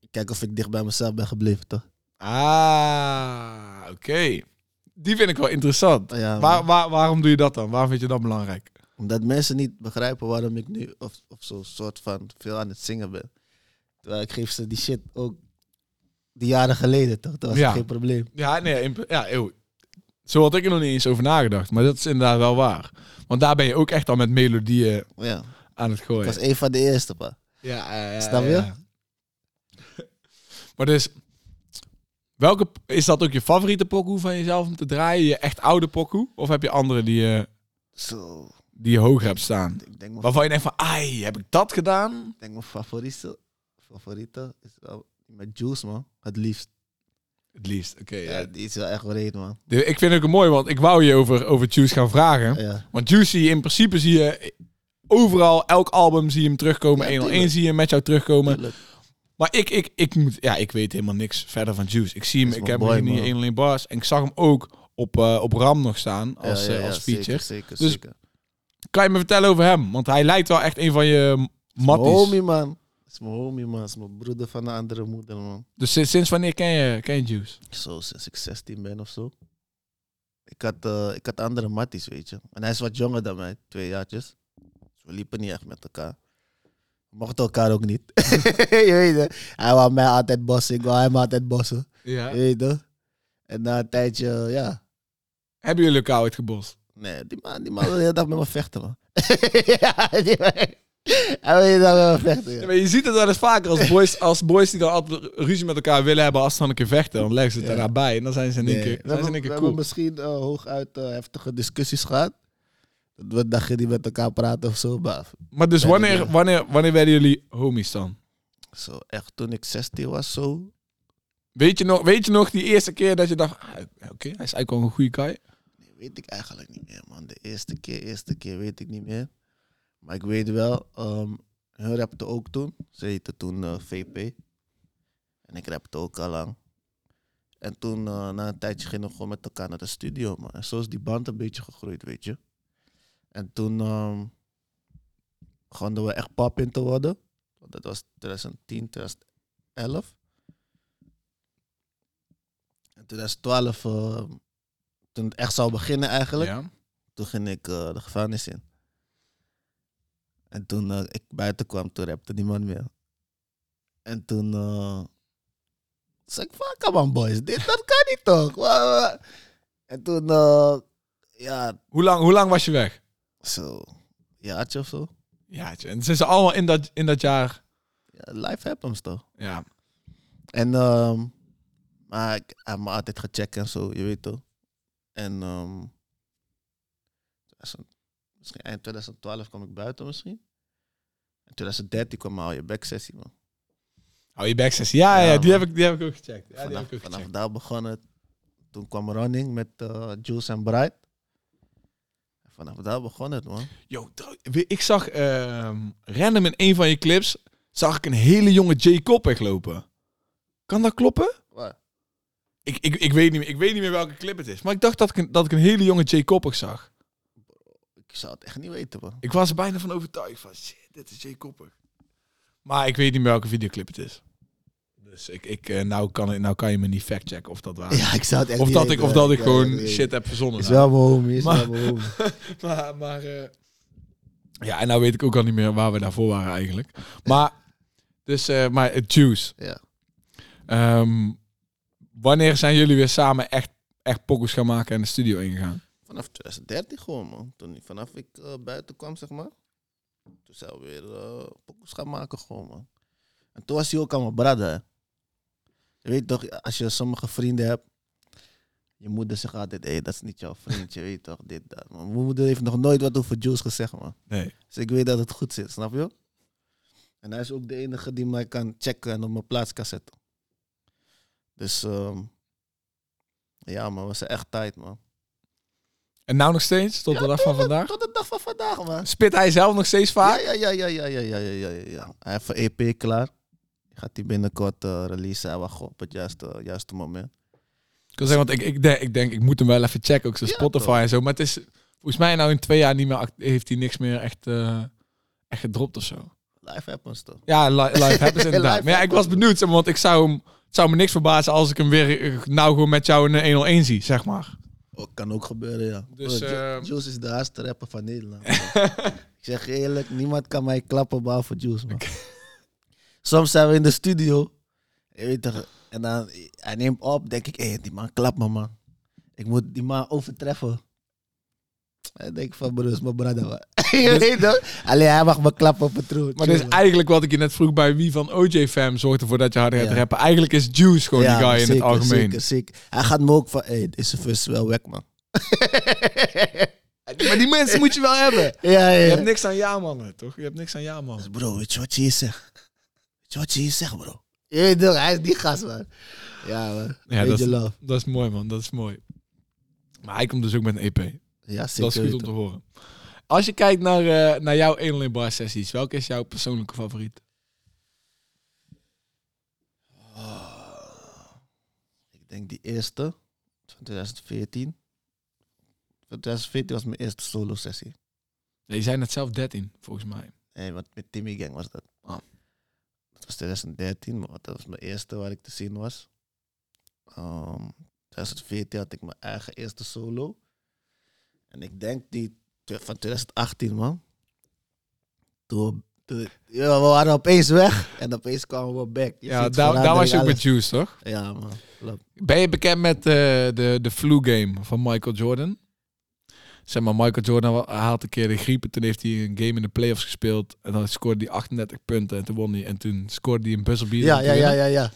S2: Ik kijk of ik dicht bij mezelf ben gebleven, toch?
S1: Ah, oké. Die vind ik wel interessant.
S2: Ja, man.
S1: Waar, waar, waarom doe je dat dan? Waarom vind je dat belangrijk?
S2: Omdat mensen niet begrijpen waarom ik nu of, of zo'n soort van veel aan het zingen ben. Terwijl ik geef ze die shit ook die jaren geleden, toch? Dat was
S1: Ja.
S2: geen probleem.
S1: Ja, nee, in- ja, eeuw. Zo had ik er nog niet eens over nagedacht. Maar dat is inderdaad wel waar. Want daar ben je ook echt al met melodieën
S2: Ja,
S1: aan het
S2: ik
S1: gooien.
S2: was een van de eerste, pa.
S1: Ja, ja, ja,
S2: Snap je?
S1: ja. maar dus, welke, is dat ook je favoriete pokoe van jezelf om te draaien? Je echt oude pokoe? Of heb je andere die je,
S2: Zo,
S1: die je hoog hebt staan?
S2: ik denk mijn,
S1: Waarvan je denkt van, ai, heb ik dat gedaan?
S2: ik denk mijn favoriete, favoriete is wel die met Juice, man. Het liefst.
S1: Het liefst, oké.
S2: Ja,
S1: ja.
S2: die is wel echt reed, man.
S1: De- Ik vind het ook mooi, want ik wou je over, over Juice gaan vragen.
S2: Ja,
S1: Want Juicy, in principe zie je overal, elk album zie je hem terugkomen.
S2: Ja,
S1: 101
S2: tuurlijk.
S1: zie je hem met jou terugkomen.
S2: tuurlijk.
S1: Maar ik, ik, ik, moet, ja, ik weet helemaal niks verder van Juice. Ik zie hem,
S2: Is
S1: ik
S2: wel
S1: heb
S2: mooi,
S1: hem niet
S2: man.
S1: 101 bars. En ik zag hem ook op, eh, op RAM nog staan als,
S2: Ja, ja,
S1: eh,
S2: ja,
S1: als feature.
S2: Zeker, zeker,
S1: Dus-
S2: zeker.
S1: Kan je me vertellen over hem? Want hij lijkt wel echt een van je
S2: Mijn
S1: matties.
S2: homie, man. Is mijn homie, man. Is mijn broeder van de andere moeder, man.
S1: Dus sinds, sinds wanneer ken je, ken je Juice?
S2: Zo, sinds ik 16 ben of zo. Ik had, eh, ik had andere matties, weet je. En hij is wat jonger dan mij, twee jaartjes. Dus we liepen niet echt met elkaar. We mochten elkaar ook niet. je weet het. Hij wou mij altijd bossen, ik wou hem altijd bossen.
S1: Ja.
S2: Je weet het. En na een tijdje, eh, ja.
S1: Hebben jullie elkaar uitgebost?
S2: Nee, die man, die man wil de hele dag met me vechten, man. ja, die man. Hij wil de hele dag met me vechten, ja.
S1: Ja, maar je ziet het wel eens vaker als boys, als boys die dan altijd ruzie met elkaar willen hebben als ze dan een keer vechten. Dan leggen ze het
S2: Ja.
S1: daarna bij en dan zijn ze in één
S2: Nee,
S1: keer, zijn
S2: we
S1: ze
S2: hebben,
S1: in één
S2: we
S1: keer
S2: hebben
S1: cool.
S2: misschien eh, hooguit eh, heftige discussies gehad. Dat we dachten die met elkaar praten of zo. Maar
S1: Maar dus
S2: Bij de
S1: wanneer,
S2: deur.
S1: wanneer, wanneer werden jullie homies dan?
S2: zo echt, toen ik 16 was, zo.
S1: Weet je, nog, weet je nog die eerste keer dat je dacht, ah, oké, hij is eigenlijk wel een goede guy.
S2: Nee, weet ik eigenlijk niet meer, man. De eerste keer, eerste keer weet ik niet meer. Maar ik weet wel, ehm hun rapte ook toen. Ze heette toen eh, VP. En ik rapte ook al lang. En toen, eh, na een tijdje, gingen we gewoon met elkaar naar de studio, man. En zo is die band een beetje gegroeid, weet je. En toen ehm begonnen we echt pap in te worden. Want Dat was 2010, 2011. En 2012, eh, toen het echt zou beginnen eigenlijk,
S1: Ja.
S2: toen ging ik eh, de gevangenis in. En toen eh, ik buiten kwam, toen rapte niemand meer. En toen eh, zei ik, fuck come on boys, dit dat kan niet toch? Wa- wa- En toen, eh, ja,
S1: Hoe, lang, hoe lang was je weg?
S2: zo, jaartje of zo.
S1: Ja, tje, en zijn ze allemaal in dat, in dat jaar.
S2: Ja, life happens toch?
S1: Ja.
S2: En ehm, Maar ik heb me altijd gecheckt en zo, je weet toch. En ehm, 2000 misschien eind 2012 kwam ik buiten misschien. En 2013 kwam al je backsessie, man.
S1: Oh, je backsessie. Ja, ja,
S2: Ja,
S1: die,
S2: man.
S1: heb ik, die heb ik ook gecheckt. Ja, die heb
S2: vanaf,
S1: ik ook
S2: vanaf
S1: gecheckt.
S2: daar begon het. Toen kwam Running met eh, Jules en Bright. En vanaf daar begon het, man.
S1: Yo, trouw- we- ik zag ehm, random in een van je clips, zag ik een hele jonge J. Cop weglopen. Kan dat kloppen?
S2: Wat?
S1: Ik, ik, ik, weet niet, meer- ik weet niet meer welke clip het is. Maar ik dacht dat ik, een- dat ik een hele jonge J. Koppig zag.
S2: Ik zou het echt niet weten, man.
S1: Ik was er bijna van overtuigd van, shit, dit is J. Koppig. Maar ik weet niet meer welke videoclip het is. Dus ik, ik, eh, nou, kan, nou kan je me niet factchecken of dat waar is.
S2: Ja, ik zou het echt
S1: Ah. Of
S2: niet
S1: dat ik,
S2: weten,
S1: of
S2: man.
S1: dat ik
S2: zou het
S1: gewoon
S2: echt niet
S1: shit heb verzonnen. nou.
S2: weten. Is wel mijn homie, is
S1: Maar-
S2: wel mijn homie.
S1: Maar, maar eh, ja, en nou weet ik ook al niet meer waar we daarvoor waren eigenlijk. Maar, dus, eh, maar het Juice.
S2: Ja.
S1: Ehm, wanneer zijn jullie weer samen echt, echt pokkels gaan maken en de studio ingegaan?
S2: Vanaf 2013 gewoon, man. Toen ik, vanaf ik eh, buiten kwam, zeg maar. Toen zou we weer eh pokoes gaan maken, gewoon, man. En toen was hij ook aan mijn brother. hè. Je weet toch, als je sommige vrienden hebt. Je moeder zegt altijd, hé, dat is niet jouw vriend. Je weet toch, dit, dat. Maar mijn moeder heeft nog nooit wat over Jules gezegd, man.
S1: Nee.
S2: Dus ik weet dat het goed zit, snap je? En hij is ook de enige die mij kan checken en op mijn plaats kan zetten. Dus, ehm, ja, man, was echt tijd, man.
S1: En nou nog steeds, tot de
S2: Ja,
S1: dag van
S2: tuurlijk,
S1: vandaag?
S2: Tot de dag van vandaag, man.
S1: Spit hij zelf nog steeds vaak?
S2: Ja, ja, ja, ja, ja, ja, ja, ja, ja, ja. Hij heeft een EP klaar. Gaat hij binnenkort eh releasen. Hij wacht op het juiste, juiste moment.
S1: Ik wil zeggen, want ik, ik, denk, ik denk, ik moet hem wel even checken, ook zo
S2: Ja,
S1: Spotify
S2: toch.
S1: en zo. Maar het is, volgens mij nou in twee jaar niet meer, act- heeft hij niks meer echt, eh, echt gedropt of zo.
S2: Life happens toch.
S1: Ja, li live hebben ze inderdaad.
S2: Live
S1: maar ja, ik was
S2: happens.
S1: benieuwd, zeg maar, want ik zou hem, het zou me niks verbazen als ik hem weer eh, nou gewoon met jou in een 101 zie, zeg maar.
S2: Ook, Oh, kan ook gebeuren, ja.
S1: Dus,
S2: Bro, Ju-
S1: eh,
S2: Juice is de hardste rapper van Nederland. man. ik zeg je eerlijk, niemand kan mij klappen behalve Juice, man. Soms zijn we in de studio. Je weet toch, en dan, hij neemt op, denk ik, hé, die man klapt me, man. Ik moet die man overtreffen. En ik denk van, broer, is mijn brother, man. je weet toch? Alleen hij mag me klappen op het troon.
S1: Dus- Maar dit is
S2: Chill, man.
S1: eigenlijk wat ik je net vroeg bij wie van OJ Fam zorgt ervoor dat je harder gaat
S2: Ja.
S1: rappen. Eigenlijk is Juice gewoon die guy in het
S2: zeker,
S1: algemeen.
S2: Zeker, zeker. Hij gaat me ook van, hé, hey, deze vis is wel weg, man.
S1: Maar die mensen moet je wel hebben.
S2: ja, ja,
S1: Je
S2: ja.
S1: hebt niks aan ja-mannen, toch? Je hebt niks aan ja-mannen.
S2: Bro, Dus weet je wat je hier zegt? Weet je wat je hier zegt, bro? Je weet toch, hij is die gast, man. Ja, man.
S1: Ja,
S2: Beetje
S1: dat is,
S2: love.
S1: dat is mooi, man. Dat is mooi. Maar hij komt dus ook met een EP.
S2: Ja,
S1: Dat is
S2: zeker.
S1: goed om
S2: weten.
S1: te horen. Als je kijkt naar, eh, naar jouw 101 bar sessies, welke is jouw persoonlijke favoriet?
S2: Oh. Ik denk die eerste, van 2014. Van 2014 was mijn eerste solo-sessie.
S1: Nee, je zijn net zelf 13, volgens mij.
S2: Nee, want met Timmy Gang was dat.
S1: Ah.
S2: Dat was 2013, maar dat was mijn eerste waar ik te zien was. Ehm 2014 had ik mijn eigen eerste solo. En ik denk die tw- van 2018, man. Toen, toen- ja, we waren opeens weg en opeens kwamen we back. Je
S1: Ja,
S2: ziet
S1: daar, daar
S2: verandering,
S1: was je ook
S2: alles.
S1: met Juice, toch?
S2: Ja, man. Klopt.
S1: Ben je bekend met eh, de, de flu game van Michael Jordan? Zeg maar, Michael Jordan wa- haalt een keer de griep. en Toen heeft hij een game in de playoffs gespeeld. En dan scoorde hij 38 punten. En toen won hij. En toen scoorde hij een buzzerbeater.
S2: Ja,
S1: om te
S2: ja, ja,
S1: winnen.
S2: ja, ja.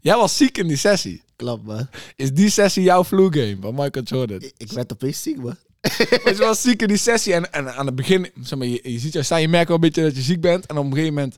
S1: Jij was ziek in die sessie.
S2: Klopt, man.
S1: Is die sessie jouw flu game van Michael Jordan?
S2: Ik, ik werd opeens ziek, man.
S1: Maar je was ziek in die sessie en, en aan het begin, zeg maar, je, je ziet jou staan, je merkt wel een beetje dat je ziek bent. En op een gegeven moment,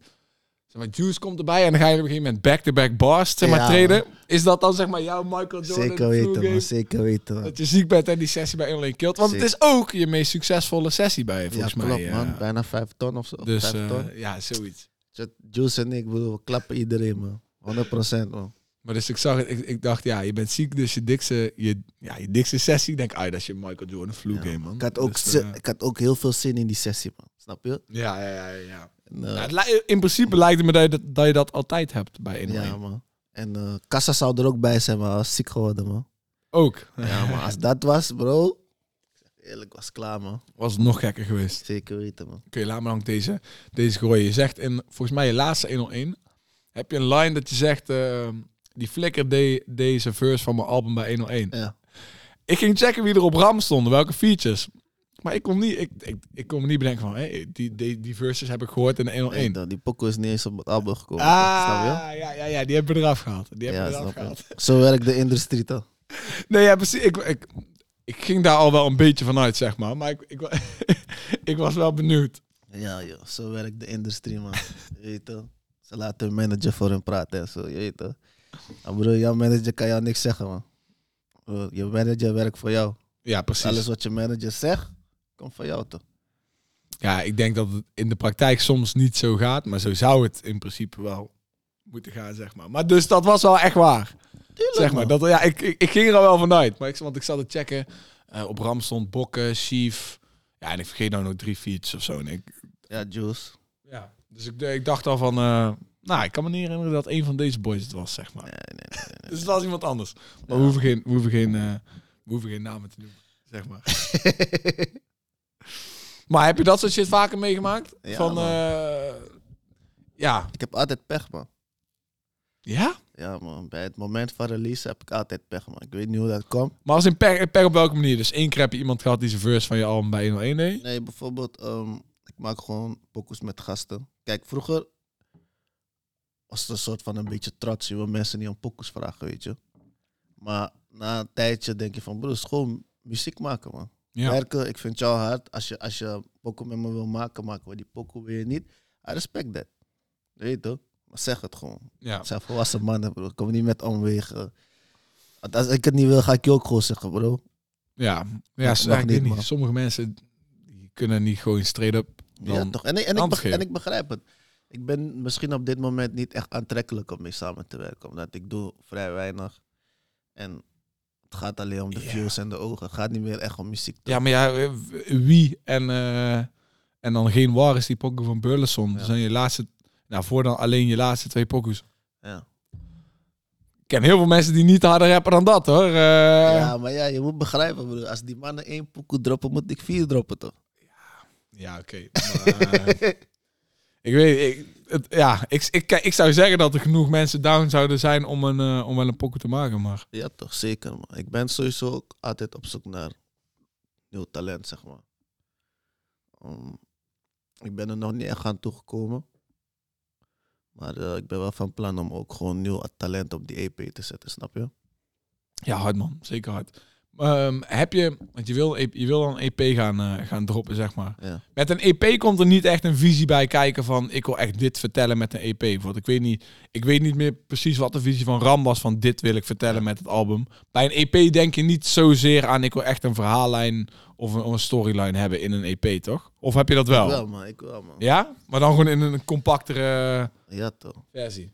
S1: zeg maar, Juice komt erbij en dan ga je op een gegeven moment back-to-back bars, zeg maar,
S2: Ja,
S1: treden. Is dat dan, zeg maar, jouw Michael Jordan?
S2: Zeker
S1: flu
S2: weten, man.
S1: game?
S2: Zeker weten, man.
S1: Dat je ziek bent en die sessie bij Inline Kilt. Want het is ook je meest succesvolle sessie bij je,
S2: Ja,
S1: volgens mij.
S2: klopt,
S1: eh.
S2: man. Bijna vijf ton of zo.
S1: Dus
S2: Vijf
S1: eh,
S2: ton.
S1: ja, zoiets.
S2: Zet Juice en ik, bedoel, we klappen iedereen, man. 100% man.
S1: Maar dus ik zag het, ik, ik dacht, ja, je bent ziek, dus je dikste, je, ja, je dikste sessie. Ik denk, ah, dat is je Michael Jordan flu
S2: Ja,
S1: game, man.
S2: Ik had, ook
S1: Dus,
S2: zi-
S1: eh,
S2: ik had ook heel veel zin in die sessie, man. Snap je?
S1: ja, ja, ja, ja.
S2: En, eh,
S1: Nou, het lij- in principe lijkt het me dat je dat, dat je dat altijd hebt bij Inline.
S2: ja, man. En eh Kassa zou er ook bij zijn, maar hij was ziek geworden, man.
S1: Ook.
S2: Ja, maar als dat was, bro. ik zeg Eerlijk, was klaar, man.
S1: Was het nog gekker geweest.
S2: Zeker weten, man.
S1: Oké, laat me dan ook deze, deze gooien. Je zegt in, volgens mij, je laatste 101. Heb je een line dat je zegt, eh, die flikker deed deze verse van mijn album bij 101.
S2: Ja.
S1: Ik ging checken wie er op RAM stonden, welke features. Maar ik kon niet, ik, ik, ik kon me niet bedenken van, hé, die, die, die verses heb ik gehoord in de 101.
S2: Nee, die pokoe is niet eens op het album gekomen. Snap je?
S1: ah, ja, ja, ja, die hebben we eraf gehaald. Die hebben
S2: Ja,
S1: we eraf
S2: snap
S1: gehaald.
S2: je. Zo werkt de industrie toch?
S1: Nee, ja, precies. Ik, ik, ik ging daar al wel een beetje van uit, zeg maar. Maar ik, ik, wa- ik was wel benieuwd.
S2: Ja, joh, zo werkt de industrie, man. je weet toch? Ze laten hun manager voor hun praten en zo, je weet toch? Maar broer, jouw manager kan jou niks zeggen, man. Broer, je manager werkt voor jou.
S1: Ja, precies.
S2: Alles wat je manager zegt, komt van jou, toch?
S1: Ja, ik denk dat het in de praktijk soms niet zo gaat. Maar zo zou het in principe wel moeten gaan, zeg maar. Maar dus dat was wel echt waar. zeg maar. Dat, ja, ik, ik, ik ging er al wel vanuit. Maar ik, want ik zat te checken. eh, op Ram stond Bokken, Chief. Ja, en ik vergeet nou nog drie features of zo. En ik,
S2: Ja, Juice.
S1: ja. Dus ik, ik dacht al van... eh, nou, ik kan me niet herinneren dat een van deze boys het was, zeg maar.
S2: Nee, nee, nee. nee, nee.
S1: Dus het was iemand anders. Maar
S2: Ja.
S1: we, hoeven geen, we, hoeven geen, eh, we hoeven geen namen te noemen, zeg maar. maar heb je dat soort shit vaker meegemaakt?
S2: Ja,
S1: Van,
S2: man.
S1: eh, ja.
S2: ik heb altijd pech, man.
S1: Ja?
S2: Ja, man. Bij het moment van release heb ik altijd pech, man. Ik weet niet hoe dat komt.
S1: Maar als in per, per op welke manier? Dus één keer heb je iemand gehad die zijn verse van je album bij 101 deed?
S2: Nee, bijvoorbeeld, ehm, ik maak gewoon pokus met gasten. Kijk, vroeger was het een soort van een beetje trots. Je wil mensen niet om pokus vragen, weet je. Maar na een tijdje denk je van, broer, het is gewoon muziek maken, man.
S1: Ja.
S2: Werken, ik vind jou hard. Als je, als je pokoe met me wil maken, maken we die pokoe weer niet. I respect dat. Weet je toch? Maar zeg het gewoon.
S1: ja.
S2: Het zijn volwassen mannen, bro. Kom niet met omwegen. Want Als ik het niet wil, ga ik je ook gewoon zeggen, bro.
S1: Ja, ja,
S2: Nog
S1: s- ja, ik
S2: niet,
S1: weet niet.
S2: man.
S1: Sommige mensen die kunnen niet gewoon straight up.
S2: Ja,
S1: Dan,
S2: toch? En ik, en, ik
S1: antwoord
S2: beg- en
S1: geven.
S2: ik begrijp het. Ik ben misschien op dit moment niet echt aantrekkelijk om mee samen te werken. Omdat ik doe vrij weinig. En het gaat alleen om de
S1: Ja.
S2: views en de ogen. Het gaat niet meer echt om muziek.
S1: ja, maar ja, eh, wie en, eh, en dan geen war is die pokken van Burleson.
S2: Ja.
S1: Dus dan je laatste, nou voor dan alleen je laatste twee pokkers.
S2: Ja.
S1: Ik ken heel veel mensen die niet harder rappen dan dat hoor. Eh, ja.
S2: ja, maar ja, je moet begrijpen, broer. Als die mannen één pokoe droppen, moet ik vier droppen, toch?
S1: oké. Maar, eh, ik weet, ik, het, ja, ik, ik, ik zou zeggen dat er genoeg mensen down zouden zijn om, een, eh, om wel een pokken te maken. Maar
S2: Ja, toch? Zeker, man. Ik ben sowieso ook altijd op zoek naar nieuw talent, zeg maar. Um, ik ben er nog niet echt aan toegekomen. Maar eh, ik ben wel van plan om ook gewoon nieuw talent op die EP te zetten, snap je?
S1: ja, hard man, zeker hard. Ehm, heb je, want je wil, je wil dan een EP gaan, eh, gaan droppen, zeg maar.
S2: Ja.
S1: Met een EP komt er niet echt een visie bij kijken van ik wil echt dit vertellen met een EP. Bijvoorbeeld, ik weet niet, ik weet niet meer precies wat de visie van Ram was van dit wil ik vertellen met het album. Bij een EP denk je niet zozeer aan ik wil echt een verhaallijn of een, of een storyline hebben in een EP, toch? Of heb je dat wel?
S2: Wel, man. Ik wel, man. Ja,
S1: Ja, maar dan gewoon in een compactere
S2: toch.
S1: versie.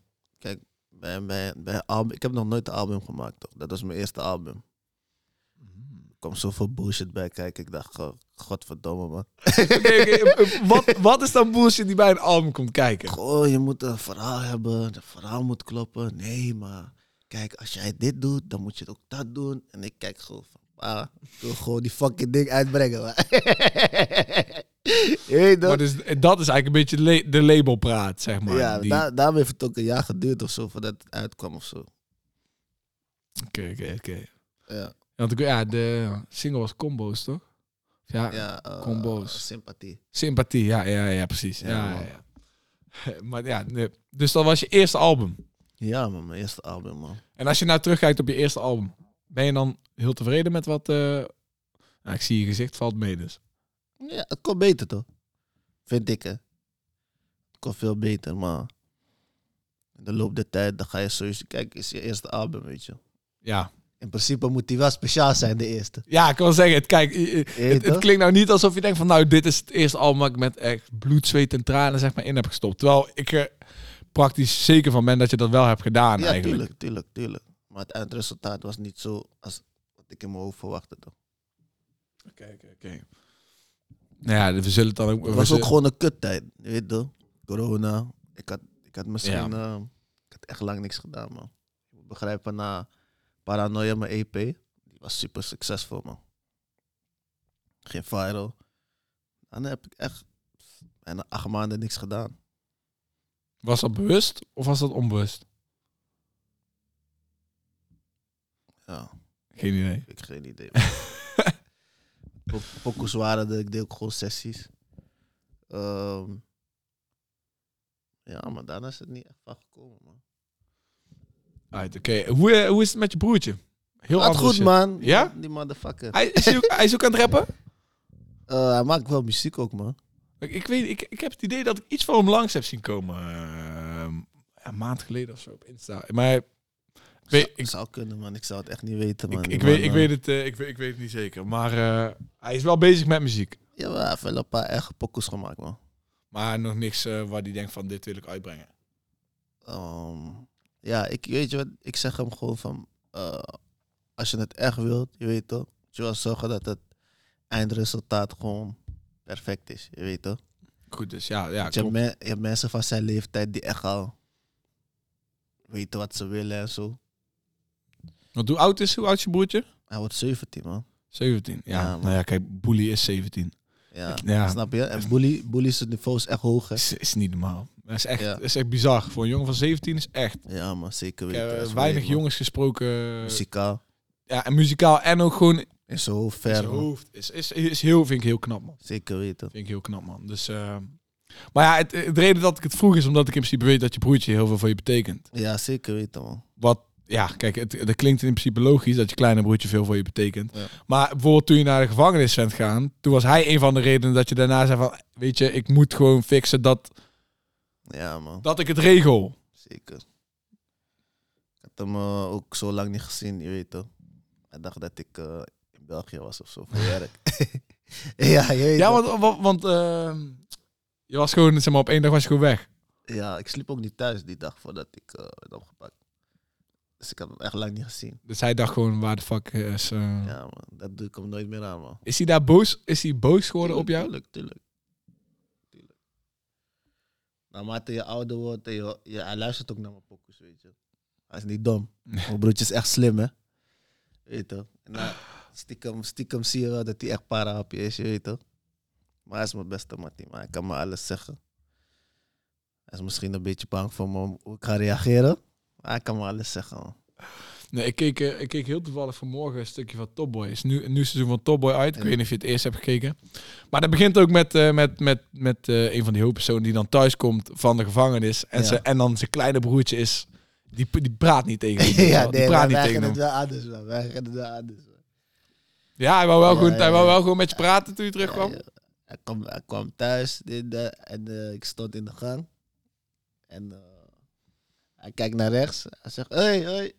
S2: Bij, bij, bij album, ik heb nog nooit een album gemaakt, toch? Dat was mijn eerste album. Er kwam zoveel bullshit bij kijken. Ik dacht, eh, godverdomme, man.
S1: Oké, oké, Eh, wat, wat is dan bullshit die bij een album komt kijken?
S2: Oh, je moet een verhaal hebben, het verhaal moet kloppen. Nee, maar kijk, als jij dit doet, dan moet je ook dat doen. En ik kijk gewoon van, ah, ik wil gewoon die fucking ding uitbrengen. man. Je weet
S1: Maar
S2: toch?
S1: dus, dat is eigenlijk een beetje le- de labelpraat, zeg maar.
S2: Ja,
S1: Die-
S2: daar, daarom heeft het ook een jaar geduurd of zo, voordat het uitkwam of zo.
S1: Oké, oké, oké.
S2: Ja,
S1: Ja, Want ik, ja, de single was Combo's, toch? Ja,
S2: ja eh,
S1: Ah, Combo's.
S2: Sympathie.
S1: Sympathie, ja, ja, ja, precies. Ja,
S2: Ja,
S1: ja,
S2: man.
S1: ja. Maar ja, nee. dus dat was je eerste album.
S2: Ja, man, mijn eerste album, man.
S1: En als je nou terugkijkt op je eerste album, ben je dan heel tevreden met wat... eh, Nou, ik zie je gezicht, valt mee dus.
S2: Ja, het kon beter toch? Vind ik hè. Het kon veel beter, maar in de loop der tijd dan ga je sowieso. Kijk, het is je eerste album, weet je.
S1: Ja,
S2: In principe moet die wel speciaal zijn, de eerste.
S1: ja ik wil zeggen, het, kijk, i- i-
S2: Weet
S1: het, het
S2: toch?
S1: klinkt nou niet alsof je denkt van... Nou, dit is het eerste album dat ik met echt bloed, zweet en tranen zeg maar in heb gestopt. Terwijl ik er praktisch zeker van ben dat je dat wel hebt gedaan
S2: ja,
S1: eigenlijk.
S2: tuurlijk, tuurlijk, tuurlijk. Maar het eindresultaat was niet zo als wat ik in mijn hoofd verwachtte. Toch?
S1: Oké, oké, oké. Nou ja, we zullen het dan ook...
S2: Het
S1: we
S2: was ook
S1: zullen-
S2: gewoon een kuttijd, je weet toch? Corona. Ik had, ik had misschien eh, ik had echt lang niks gedaan, man. Je moet begrijpen, na Paranoia, mijn EP, die was super succesvol, man. Geen viral. En dan heb ik echt bijna acht maanden niks gedaan.
S1: Was dat bewust of was dat onbewust?
S2: Ja,
S1: Geen idee.
S2: ik heb geen idee. man. po- pokoes waren er. Ik deed ook gewoon sessies. Ehm, ja, maar daarna is het niet echt van gekomen, man.
S1: Right, Oké, hoe, eh, hoe is het met je broertje? Heel
S2: Gaat
S1: andere
S2: goed,
S1: shit.
S2: man.
S1: Ja?
S2: Die motherfucker.
S1: Hij is, hij ook, hij is ook aan het rappen?
S2: Eh, hij maakt wel muziek ook, man.
S1: Ik, ik weet, ik, ik heb het idee dat ik iets van hem langs heb zien komen. eh, een maand geleden of zo op Insta. Maar ik weet, ik,
S2: zou kunnen, man. Ik zou het echt niet weten, man.
S1: ik,
S2: Die
S1: ik weet,
S2: man,
S1: ik,
S2: eh,
S1: weet het, eh, ik, weet, ik weet het niet zeker. Maar eh, hij is wel bezig met muziek.
S2: Ja, hij heeft wel een paar eigen pokoes gemaakt, man.
S1: Maar nog niks eh, waar hij denkt van dit wil ik uitbrengen.
S2: Ehm, ja, ik, weet je wat, ik zeg hem gewoon van, eh, als je het echt wilt, je weet toch, moet je wel zorgen dat het eindresultaat gewoon perfect is, je weet toch.
S1: Goed, dus ja, ja
S2: Want Je hebt,
S1: klopt.
S2: me- je hebt mensen van zijn leeftijd die echt al weten wat ze willen en zo.
S1: Want hoe oud is, hoe oud is je broertje?
S2: Hij wordt 17, man.
S1: 17. Ja,
S2: Ja, man.
S1: nou ja, kijk, Boelie is 17.
S2: Ja,
S1: Ja.
S2: snap je? En bully, bully zijn niveau is echt hoog, hè.
S1: Is, is niet normaal. Dat is echt,
S2: Ja.
S1: is echt bizar. Voor een jongen van 17 is echt.
S2: Ja, man, zeker
S1: Ik
S2: weten.
S1: heb eh,
S2: Dat is
S1: weinig
S2: weird, man.
S1: jongens gesproken. eh,
S2: Muzikaal,
S1: Ja, en muzikaal en ook gewoon
S2: in zijn hoofd,
S1: in
S2: ver,
S1: zijn
S2: man.
S1: hoofd. Is, is, is heel, vind ik heel knap, man.
S2: Zeker weten.
S1: Vind ik heel knap, man. Dus, eh, maar ja, het, het reden dat ik het vroeg is omdat ik in principe weet dat je broertje heel veel voor je betekent.
S2: Ja, zeker weten, man.
S1: Wat, ja, kijk, het, dat klinkt in principe logisch dat je kleine broertje veel voor je betekent.
S2: Ja.
S1: Maar bijvoorbeeld toen je naar de gevangenis bent gaan, toen was hij een van de redenen dat je daarna zei van, weet je, ik moet gewoon fixen dat,
S2: Ja, man.
S1: dat ik het regel.
S2: Zeker. Ik had hem eh, ook zo lang niet gezien, je weet toch. Hij dacht dat ik eh, in België was of zo voor werk. ja, je weet
S1: Ja,
S2: toch.
S1: want, want, want, eh, je was gewoon, zeg maar, op één dag was je gewoon weg.
S2: ja, ik sliep ook niet thuis die dag voordat ik eh, werd opgepakt. Dus ik had hem echt lang niet gezien.
S1: Dus hij dacht gewoon, waar de fuck is... eh,
S2: Ja, man, dat doe ik hem nooit meer aan, man.
S1: Is hij daar boos? Is hij boos geworden op
S2: Tuurlijk,
S1: jou?
S2: Tuurlijk, tuurlijk. tuurlijk. Nou, Naarmate je ouder wordt, en je, je, hij luistert ook naar mijn pokus, weet je. Hij is niet dom. Mijn broertje is echt slim, hè. Weet je toch? En hij- stiekem, stiekem zie je wel dat hij echt parahapje is, je weet toch? Maar hij is mijn beste mattie, maar hij kan me alles zeggen. Hij is misschien een beetje bang voor me, hoe ik ga reageren. Maar hij kan me alles zeggen, man.
S1: Nee, ik keek, eh, ik keek heel toevallig vanmorgen een stukje van Top Boy. Is nu een nieuw seizoen van Top Boy uit. Ik
S2: Ja.
S1: weet niet of je het eerst hebt gekeken. Maar dat begint ook met, eh, met, met, met eh, een van die hoofdpersonen die dan thuiskomt van de gevangenis. En,
S2: Ja.
S1: ze, en dan zijn kleine broertje is. Die, die praat niet tegen hem.
S2: ja,
S1: die
S2: nee,
S1: praat
S2: wij,
S1: niet
S2: wij
S1: tegen
S2: gaan het
S1: hem.
S2: wel anders, man. Wij gaan het wel anders, man.
S1: Ja, hij wou, wel
S2: Ja,
S1: gewoon, hij
S2: ja,
S1: wou
S2: ja.
S1: wel gewoon met je praten toen je terugkwam.
S2: Ja, ja. Hij, kwam, hij kwam thuis dit, dat, en eh, ik stond in de gang. En eh, hij kijkt naar rechts. Hij zegt, hoi, hoi.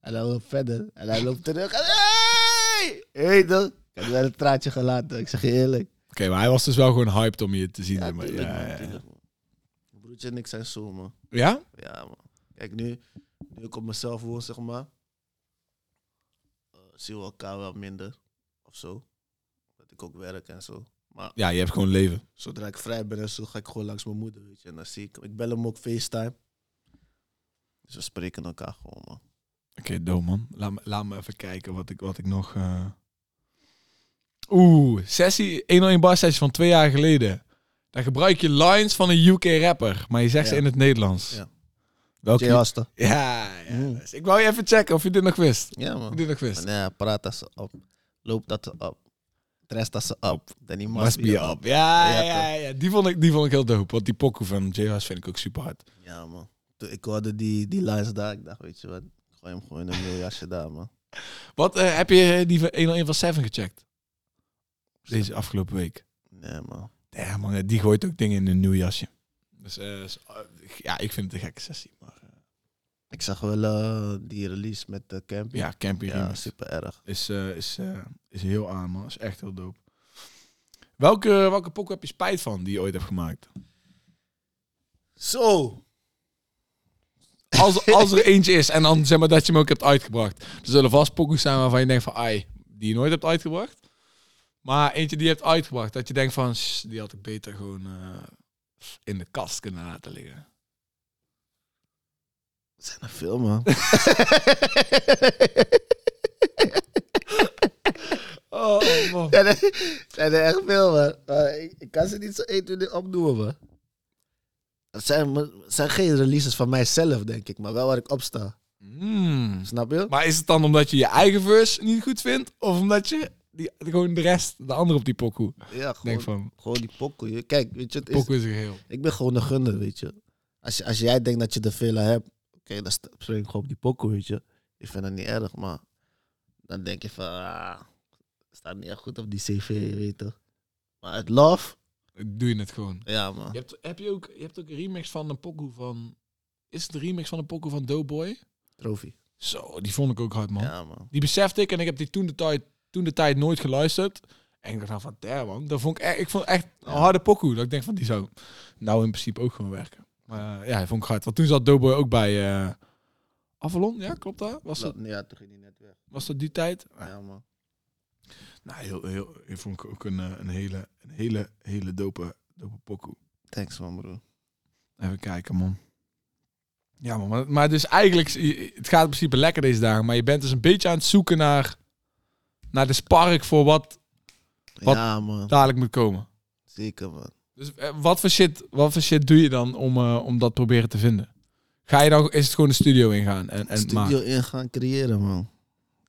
S2: En hij loopt verder. En hij loopt terug. En, hey! Hey, dan. Ik had wel een traantje gelaten, ik zeg je eerlijk.
S1: Oké, maar hij was dus wel gewoon hyped om je te zien.
S2: Ja,
S1: zeg maar.
S2: tuurlijk,
S1: ja,
S2: man,
S1: ja, ja.
S2: tuurlijk, man. Mijn broertje en ik zijn zo, man.
S1: Ja?
S2: Ja, man. Kijk, nu, nu ik op mezelf woon, zeg maar, eh, zien we elkaar wel minder. Of zo. Dat ik ook werk en zo. Maar
S1: Ja, je hebt gewoon leven.
S2: Zodra ik vrij ben en zo, ga ik gewoon langs mijn moeder, weet je. En dan zie ik hem. Ik bel hem ook FaceTime. Dus we spreken elkaar gewoon, man.
S1: Oké, doe man. Laat me, laat me even kijken wat ik, wat ik nog... eh. Oeh, sessie 101 bar sessie van twee jaar geleden. Daar gebruik je lines van een UK rapper, maar je zegt ze
S2: Ja.
S1: in het Nederlands.
S2: Ja.
S1: Welke?
S2: Jay
S1: Ja,
S2: Hasta.
S1: ja.
S2: Mm.
S1: Dus ik wou je even checken of je dit nog wist.
S2: Ja,
S1: Of je
S2: man.
S1: dit nog wist.
S2: Ja, praat dat ze op. Loop dat ze op. Dress dat ze op. Dan die
S1: Must be up. Ja, ja, ja, Die, vond ik, die vond ik heel dope. Want die pokoe van JHS vind ik ook super hard.
S2: Ja, man. Toen ik hoorde die, die lines daar, ik dacht, weet je wat. Ik gooi hem gewoon in een miljasje daar, man.
S1: Wat, eh, heb je eh, die van 101 van Seven gecheckt? Deze afgelopen week.
S2: Nee, man.
S1: Ja, man, die gooit ook dingen in een nieuw jasje. Dus eh, is- eh, ja, ik vind het een gekke sessie. Maar, eh,
S2: Ik zag wel eh, die release met de Campy.
S1: ja, Campy
S2: ja,
S1: Remix
S2: super erg.
S1: is, eh, is, eh, is heel aan, man. Is echt heel dope. Welke, welke pokoe heb je spijt van die je ooit hebt gemaakt?
S2: Zo!
S1: Als, als er eentje is en dan zeg maar dat je hem ook hebt uitgebracht. Er zullen vast pokoes zijn waarvan je denkt van, ai, die je nooit hebt uitgebracht. Maar eentje die je hebt uitgebracht, dat je denkt van, "Sss, die had ik beter gewoon eh, in de kast kunnen laten liggen.
S2: Er zijn er veel, man.
S1: Oh, man.
S2: zijn er, zijn er echt veel, man. Maar ik, ik kan ze niet zo 1, 2, 3 opnoemen, man. Het zijn, het zijn geen releases van mijzelf, denk ik, maar wel waar ik op sta.
S1: Mm.
S2: Snap je?
S1: Maar is het dan omdat je je eigen verse niet goed vindt? Of omdat je die, gewoon de rest, de andere op die pokoe.
S2: Ja,
S1: Ik
S2: gewoon,
S1: denk van,
S2: gewoon die pokoe. je- Kijk, weet je, het is,
S1: pokoe is een geheel.
S2: ik ben gewoon een gunner, weet je. Als, je- als jij denkt dat je de villa hebt, oké, dan sta- spring ik gewoon op die pokoe, weet je. Ik vind dat niet erg, maar dan denk je van, ah, staat niet echt goed op die cv, je weet toch. Maar het love,
S1: Doe je het gewoon.
S2: ja man.
S1: Je hebt, heb je, ook, je hebt ook een remix van een pokoe van... Is het een remix van een pokoe van Doughboy?
S2: Trofee.
S1: Zo, die vond ik ook hard, man.
S2: Ja man.
S1: Die besefte ik en ik heb die toen de tijd, toen de tijd nooit geluisterd. En ik dacht nou van, damn man, dat vond ik, echt, ik vond echt een harde pokoe. Dat ik denk van, die zou nou in principe ook gewoon werken. Maar eh, ja, hij vond ik hard. Want toen zat Doughboy ook bij eh, Avalon, ja, klopt dat? Was dat,
S2: Ja, toen ging die net weg.
S1: was dat die tijd?
S2: Ja man.
S1: Nou, heel, heel, heel vond ik ook een, eh, een hele, een hele, hele dope, dope pokoe.
S2: Thanks man, broer.
S1: Even kijken, man. Ja, man, maar, maar dus eigenlijk, je- het gaat in principe lekker deze dagen. Maar je bent dus een beetje aan het zoeken naar, naar de spark voor wat Wat-
S2: Ja man,
S1: dadelijk moet komen.
S2: zeker man.
S1: Dus eh, wat, voor shit, wat voor shit doe je dan om, eh, om dat proberen te vinden? Ga je dan, is het gewoon de studio ingaan en, en maken?
S2: studio in gaan creëren, man.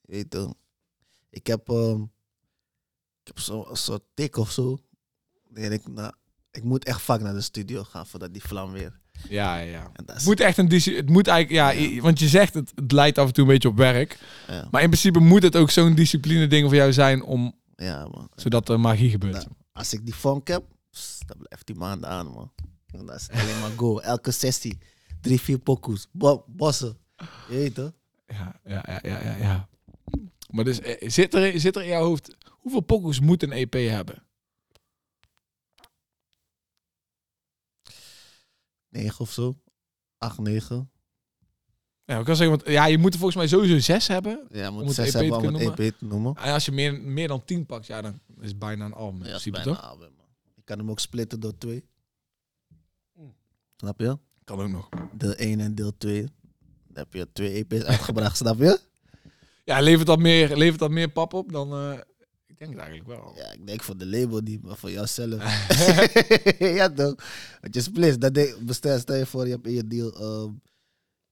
S2: Je weet toch? Ik heb, ehm, ik heb zo, een soort tik of zo. Dan denk ik, nou, ik moet echt vaak naar de studio gaan voordat die vlam weer.
S1: Ja, ja, ja.
S2: En dat
S1: Het
S2: is,
S1: moet echt een... disci- Het moet eigenlijk... Ja,
S2: Ja.
S1: i- want je zegt, het, het leidt af en toe een beetje op werk.
S2: ja,
S1: Maar in principe moet het ook zo'n discipline ding voor jou zijn om...
S2: ja, man.
S1: Zodat er magie gebeurt.
S2: Ja. Als ik die funk heb, pss, dan blijft die maanden aan, man. En dat is alleen maar go. Elke sessie, drie, vier pokoes, bo bossen. Je weet toch?
S1: Ja, ja, ja, ja, ja. ja. Maar dus eh, zit er, zit er in jouw hoofd... Hoeveel pokoes moet een EP hebben?
S2: Negen of zo. Acht, negen.
S1: Ja, ik kan zeggen, want ja, je moet er volgens mij sowieso zes hebben.
S2: Ja,
S1: Om
S2: moet
S1: het EP
S2: zes hebben
S1: te
S2: om het
S1: kunnen
S2: EP te noemen.
S1: En als je meer, meer dan tien pakt, ja, dan is het bijna een album. in
S2: Ja, is
S1: principe,
S2: bijna
S1: toch?
S2: een album, man. Ik kan hem ook splitten door twee. Snap je?
S1: Kan ook nog.
S2: Deel 1 en deel 2. Dan heb je twee EP's uitgebracht, snap je?
S1: Ja, levert dat meer, levert dat meer pap op dan... eh, ik denk het eigenlijk wel.
S2: Ja, ik denk voor de label niet, maar voor jouzelf. ja toch? Want je split, dat denk, bestel, stel je voor, je hebt in je deal ehm,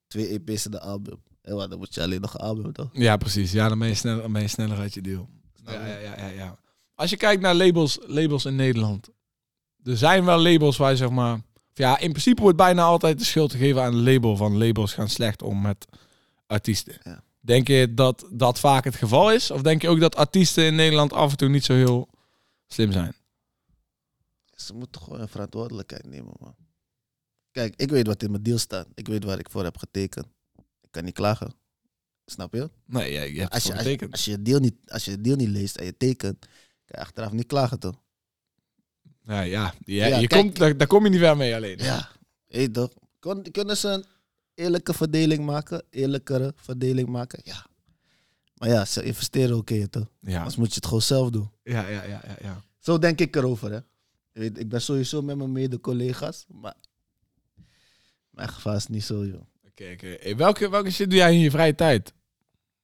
S2: twee EP's in de album. En wat, dan moet je alleen nog een album, toch?
S1: Ja, precies. Ja, dan ben je sneller, dan ben je sneller uit je deal.
S2: Snap je?
S1: Ja, ja, ja, ja, ja. Als je kijkt naar labels, labels in Nederland. Er zijn wel labels waar je zeg maar... Ja, in principe wordt bijna altijd de schuld gegeven aan een label. Van labels gaan slecht om met artiesten.
S2: Ja.
S1: Denk je dat dat vaak het geval is? Of denk je ook dat artiesten in Nederland af en toe niet zo heel slim zijn?
S2: Ze moeten gewoon een verantwoordelijkheid nemen, man. Kijk, ik weet wat in mijn deal staat. Ik weet waar ik voor heb getekend. Ik kan niet klagen. Snap je?
S1: Nee, ja, je hebt
S2: Als
S1: het
S2: je,
S1: voor
S2: als, je-
S1: getekend.
S2: als je je deal niet, als je je deal niet leest en je tekent, kan je achteraf niet klagen, toch?
S1: Ja, ja. ja,
S2: Ja,
S1: je
S2: kijk.
S1: komt, daar, daar kom je niet ver mee alleen.
S2: Ja, hey toch? Kon, kunnen ze een eerlijke verdeling maken? Eerlijkere verdeling maken? Ja. Maar ja, ze investeren ook in je toch?
S1: Ja,
S2: Anders moet je het gewoon zelf doen.
S1: ja, ja, ja, ja. ja.
S2: Zo denk ik erover, hè? Je weet, ik ben sowieso met mijn mede-collega's, maar mijn gevaar is niet zo, joh.
S1: Oké, oké. Hey, welke, welke shit doe jij in je vrije tijd?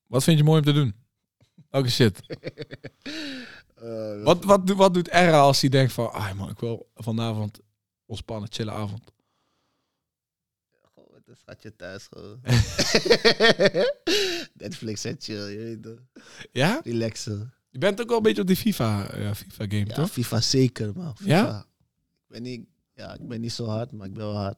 S1: Wat vind je mooi om te doen? Welke shit?
S2: Eh,
S1: Wat, wat, doe- wat doet Erra als hij denkt van... Ah man, ik wil vanavond ontspannen, chillen avond.
S2: Goh, wat een schatje thuis, gewoon. Netflix en chill, je weet toch?
S1: Ja?
S2: Relaxen.
S1: Je bent ook wel een beetje op die FIFA, eh, FIFA game,
S2: Ja,
S1: toch?
S2: FIFA zeker, man. FIFA.
S1: Ja?
S2: Ik ben niet, ja, ik ben niet zo hard, maar ik ben wel hard.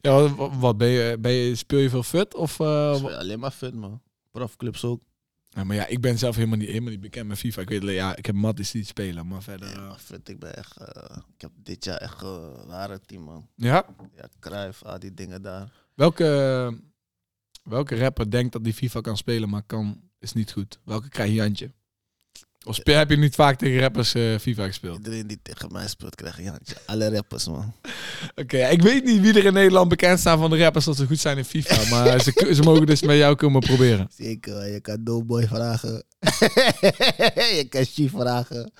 S1: Ja, wat, wat ben je, ben je, speel je veel fut? Of, eh,
S2: Ik
S1: wa-
S2: speel alleen maar fun, man. Profclubs ook.
S1: Ja, maar ja, ik ben zelf helemaal niet, helemaal niet bekend met FIFA. Ik weet alleen, ja, ik heb Matties die het spelen, maar verder...
S2: Nee,
S1: eh,
S2: maar fut, ik ben echt... eh, ik heb dit jaar echt eh, een rare team, man.
S1: ja?
S2: Ja, Cruijff, al die dingen daar.
S1: Welke, welke rapper denkt dat die FIFA kan spelen, maar kan is niet goed? Welke krijg je handje? Of speel, heb je niet vaak tegen rappers eh, FIFA gespeeld?
S2: Iedereen die tegen mij speelt, krijgt een handje. Alle rappers, man.
S1: Oké, ik weet niet wie er in Nederland bekend staan van de rappers dat ze goed zijn in FIFA. Maar ze, ze mogen dus met jou komen proberen.
S2: Zeker, man. je kan Doughboy vragen. je kan Chief vragen.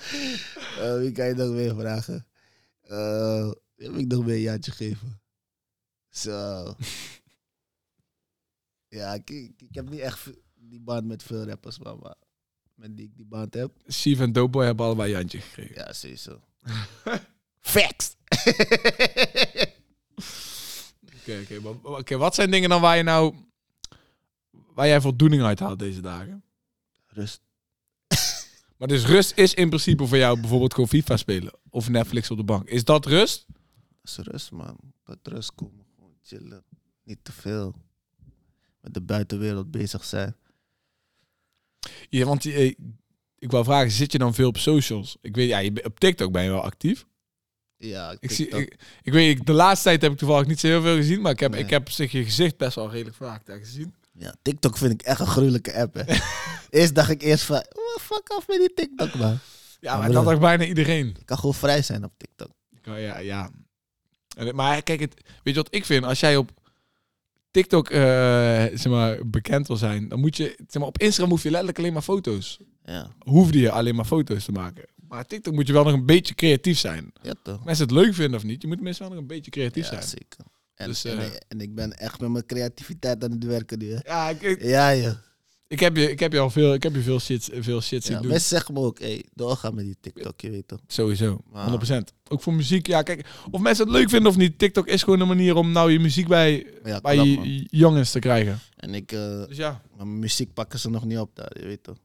S2: Eh, wie kan je nog meer vragen? Eh, wie heb ik nog meer een jaartje gegeven? Zo. ja, ik, ik, ik heb niet echt ve- die band met veel rappers, man, maar met die ik die band heb,
S1: Chief en Doughboy hebben allebei je handje gekregen.
S2: ja, sowieso. Facts!
S1: Oké, oké, maar- oké, wat zijn dingen dan waar je nou... Waar jij voldoening uit haalt deze dagen?
S2: Rust.
S1: Maar dus rust is in principe voor jou bijvoorbeeld gewoon FIFA spelen of Netflix op de bank. Is dat rust?
S2: Dat is rust, man. Tot rust komen. Gewoon chillen. Niet te veel. Met de buitenwereld bezig zijn.
S1: Ja, want eh, ik wou vragen, zit je dan veel op socials? Ik weet, ja, je bent- op TikTok ben je wel actief.
S2: Ja,
S1: Ik, zie, ik, ik weet, ik- de laatste tijd heb ik toevallig niet zo heel veel gezien, maar ik heb,
S2: Nee.
S1: ik heb op zich je gezicht best wel redelijk vaak daar gezien.
S2: Ja, TikTok vind ik echt een gruwelijke app, hè. eerst dacht ik eerst van, "Oh, fuck af met die TikTok, man.
S1: Ja, maar
S2: broer.
S1: dat dacht bijna iedereen.
S2: Ik kan gewoon vrij zijn op TikTok.
S1: Ja, eh, ja. ja. En, eh, maar kijk, het, weet je wat ik vind? Als jij op TikTok eh, zeg maar, bekend wil zijn, dan moet je, zeg maar, op Instagram hoef je letterlijk alleen maar foto's.
S2: Ja,
S1: Hoefde je alleen maar foto's te maken. Maar op TikTok moet je wel nog een beetje creatief zijn.
S2: ja toch.
S1: Of mensen het leuk vinden of niet, je moet mensen wel nog een beetje creatief
S2: Ja,
S1: zijn.
S2: zeker. En,
S1: Dus,
S2: en,
S1: eh,
S2: en ik ben echt met mijn creativiteit aan het werken nu, hè.
S1: Ja, ik, ik,
S2: Ja, joh.
S1: ik heb je, ik heb je al veel, ik heb je veel shit, veel shit zien
S2: Ja,
S1: doen.
S2: mensen zeggen me ook, hé, hey, doorgaan met die TikTok, je weet toch.
S1: Sowieso,
S2: Wauw.
S1: 100%. Ook voor muziek, ja, kijk, of mensen het leuk vinden of niet, TikTok is gewoon een manier om nou je muziek bij,
S2: Ja,
S1: bij
S2: klopt,
S1: je-
S2: man.
S1: je jongens te krijgen.
S2: En ik, eh,
S1: Dus ja.
S2: mijn muziek pakken ze nog niet op daar, je weet toch.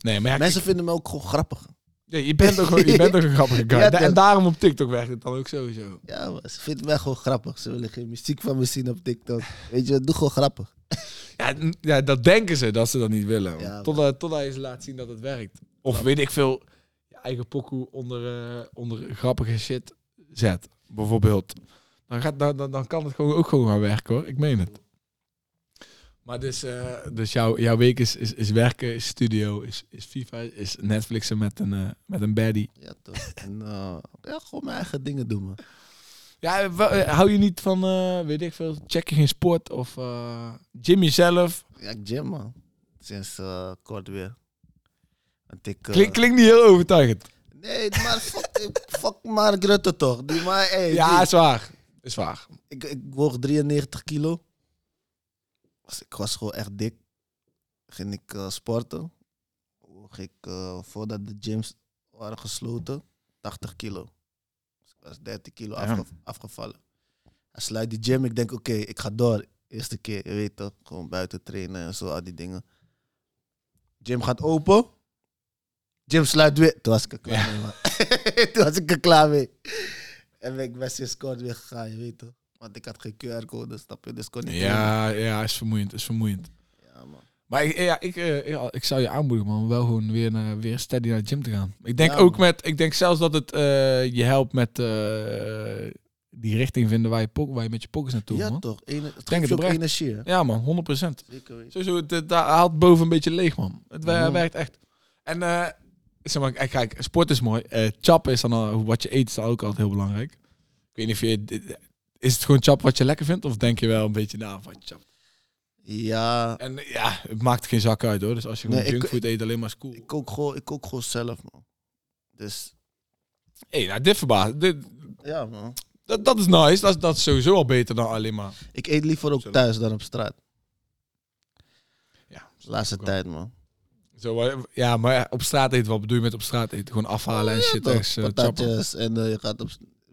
S1: Nee, maar ja,
S2: Mensen vinden me ook gewoon grappig.
S1: Ja, je bent ook, gewoon- je bent ook een grappige guy.
S2: Ja,
S1: Da-
S2: toch.
S1: en daarom op TikTok werkt het dan ook sowieso.
S2: Ja, maar ze vinden mij gewoon grappig. Ze willen geen muziek van me zien op TikTok. Weet je, doe gewoon grappig.
S1: Ja, n- ja, dat denken ze dat ze dat niet willen.
S2: Ja, maar-
S1: totdat, totdat je ze laat zien dat het werkt. Of weet ik veel, je eigen pokoe onder, eh, onder grappige shit zet, bijvoorbeeld. Dan, gaat, dan, dan, dan kan het gewoon ook gewoon gaan werken hoor, ik meen het. Maar dus, eh, dus jouw jouw week is, is, is werken, is studio, is, is FIFA, is Netflixen met een, eh, met een baddie.
S2: Ja, toch. En eh, ja, gewoon mijn eigen dingen doen, man.
S1: Ja, eh, wa- eh, hou je niet van, eh, weet ik veel, check je geen sport of eh gym jezelf?
S2: Ja, ik gym, man. Sinds eh, kort weer. Want ik... eh,
S1: Klink, klinkt niet heel overtuigend.
S2: Nee, maar fuck, fuck Mark Rutte toch. Die maar, hey,
S1: Ja,
S2: die-
S1: is waar. Is waar.
S2: ik, ik woog 93 kilo. Dus ik was gewoon echt dik. Ging ik eh, sporten. Woog ik, eh, voordat de gyms waren gesloten, 80 kilo. Dus ik was 30 kilo
S1: Ja.
S2: afge- afgevallen. En sluit die gym, ik denk oké, ik ga door. Eerste keer, je weet toch, gewoon buiten trainen en zo, al die dingen. Gym gaat open. Gym sluit weer. Toen was ik er klaar mee, man. Toen was ik er klaar mee. En ben ik best in scoort weer gegaan, je weet toch. Want ik had geen QR-code, snap je? Dus kon ik niet.
S1: Ja, ja, is vermoeiend, is vermoeiend.
S2: Ja, man.
S1: Maar ik, ja, ik, eh, ja, ik zou je aanmoedigen, man, om wel gewoon weer, naar, weer steady naar de gym te gaan. Ik denk
S2: Ja,
S1: ook
S2: man.
S1: met, ik denk zelfs dat het eh, je helpt met eh, die richting vinden waar je, pok, waar je met je pokkers naartoe,
S2: ja,
S1: man.
S2: toch. Ene, het
S1: het
S2: geeft je ook
S1: oprecht.
S2: energie, hè?
S1: Ja, man, 100 procent.
S2: Zeker weten.
S1: Sowieso, het, het haalt boven een beetje leeg, man. Het wer-
S2: Mhm.
S1: werkt echt. En eh, zeg maar, kijk, kijk, sport is mooi. Eh chap is dan al- wat je eet is dan ook altijd heel belangrijk. Ik weet niet of je... dit- Is het gewoon chap wat je lekker vindt? Of denk je wel een beetje na van chap?
S2: Ja,
S1: En eh, ja, het maakt geen zak uit hoor. Dus als je gewoon
S2: Nee, ik-
S1: junkfood eet, alleen maar is cool.
S2: ik kook, gewoon, ik kook gewoon zelf, man. Dus,
S1: hey, nou dit verbaast. Dit,
S2: ja, man.
S1: dat, dat is nice. Dat, is- dat is sowieso al beter dan alleen maar...
S2: Ik eet liever ook
S1: Zelf.
S2: thuis dan op straat.
S1: Ja,
S2: Laatste tijd, man.
S1: Zo, eh, ja, maar ja, op straat eten, wat bedoel je met op straat eten? Gewoon afhalen en shit.
S2: toch,
S1: ergens, eh, chappen.
S2: patatjes en eh, je gaat op...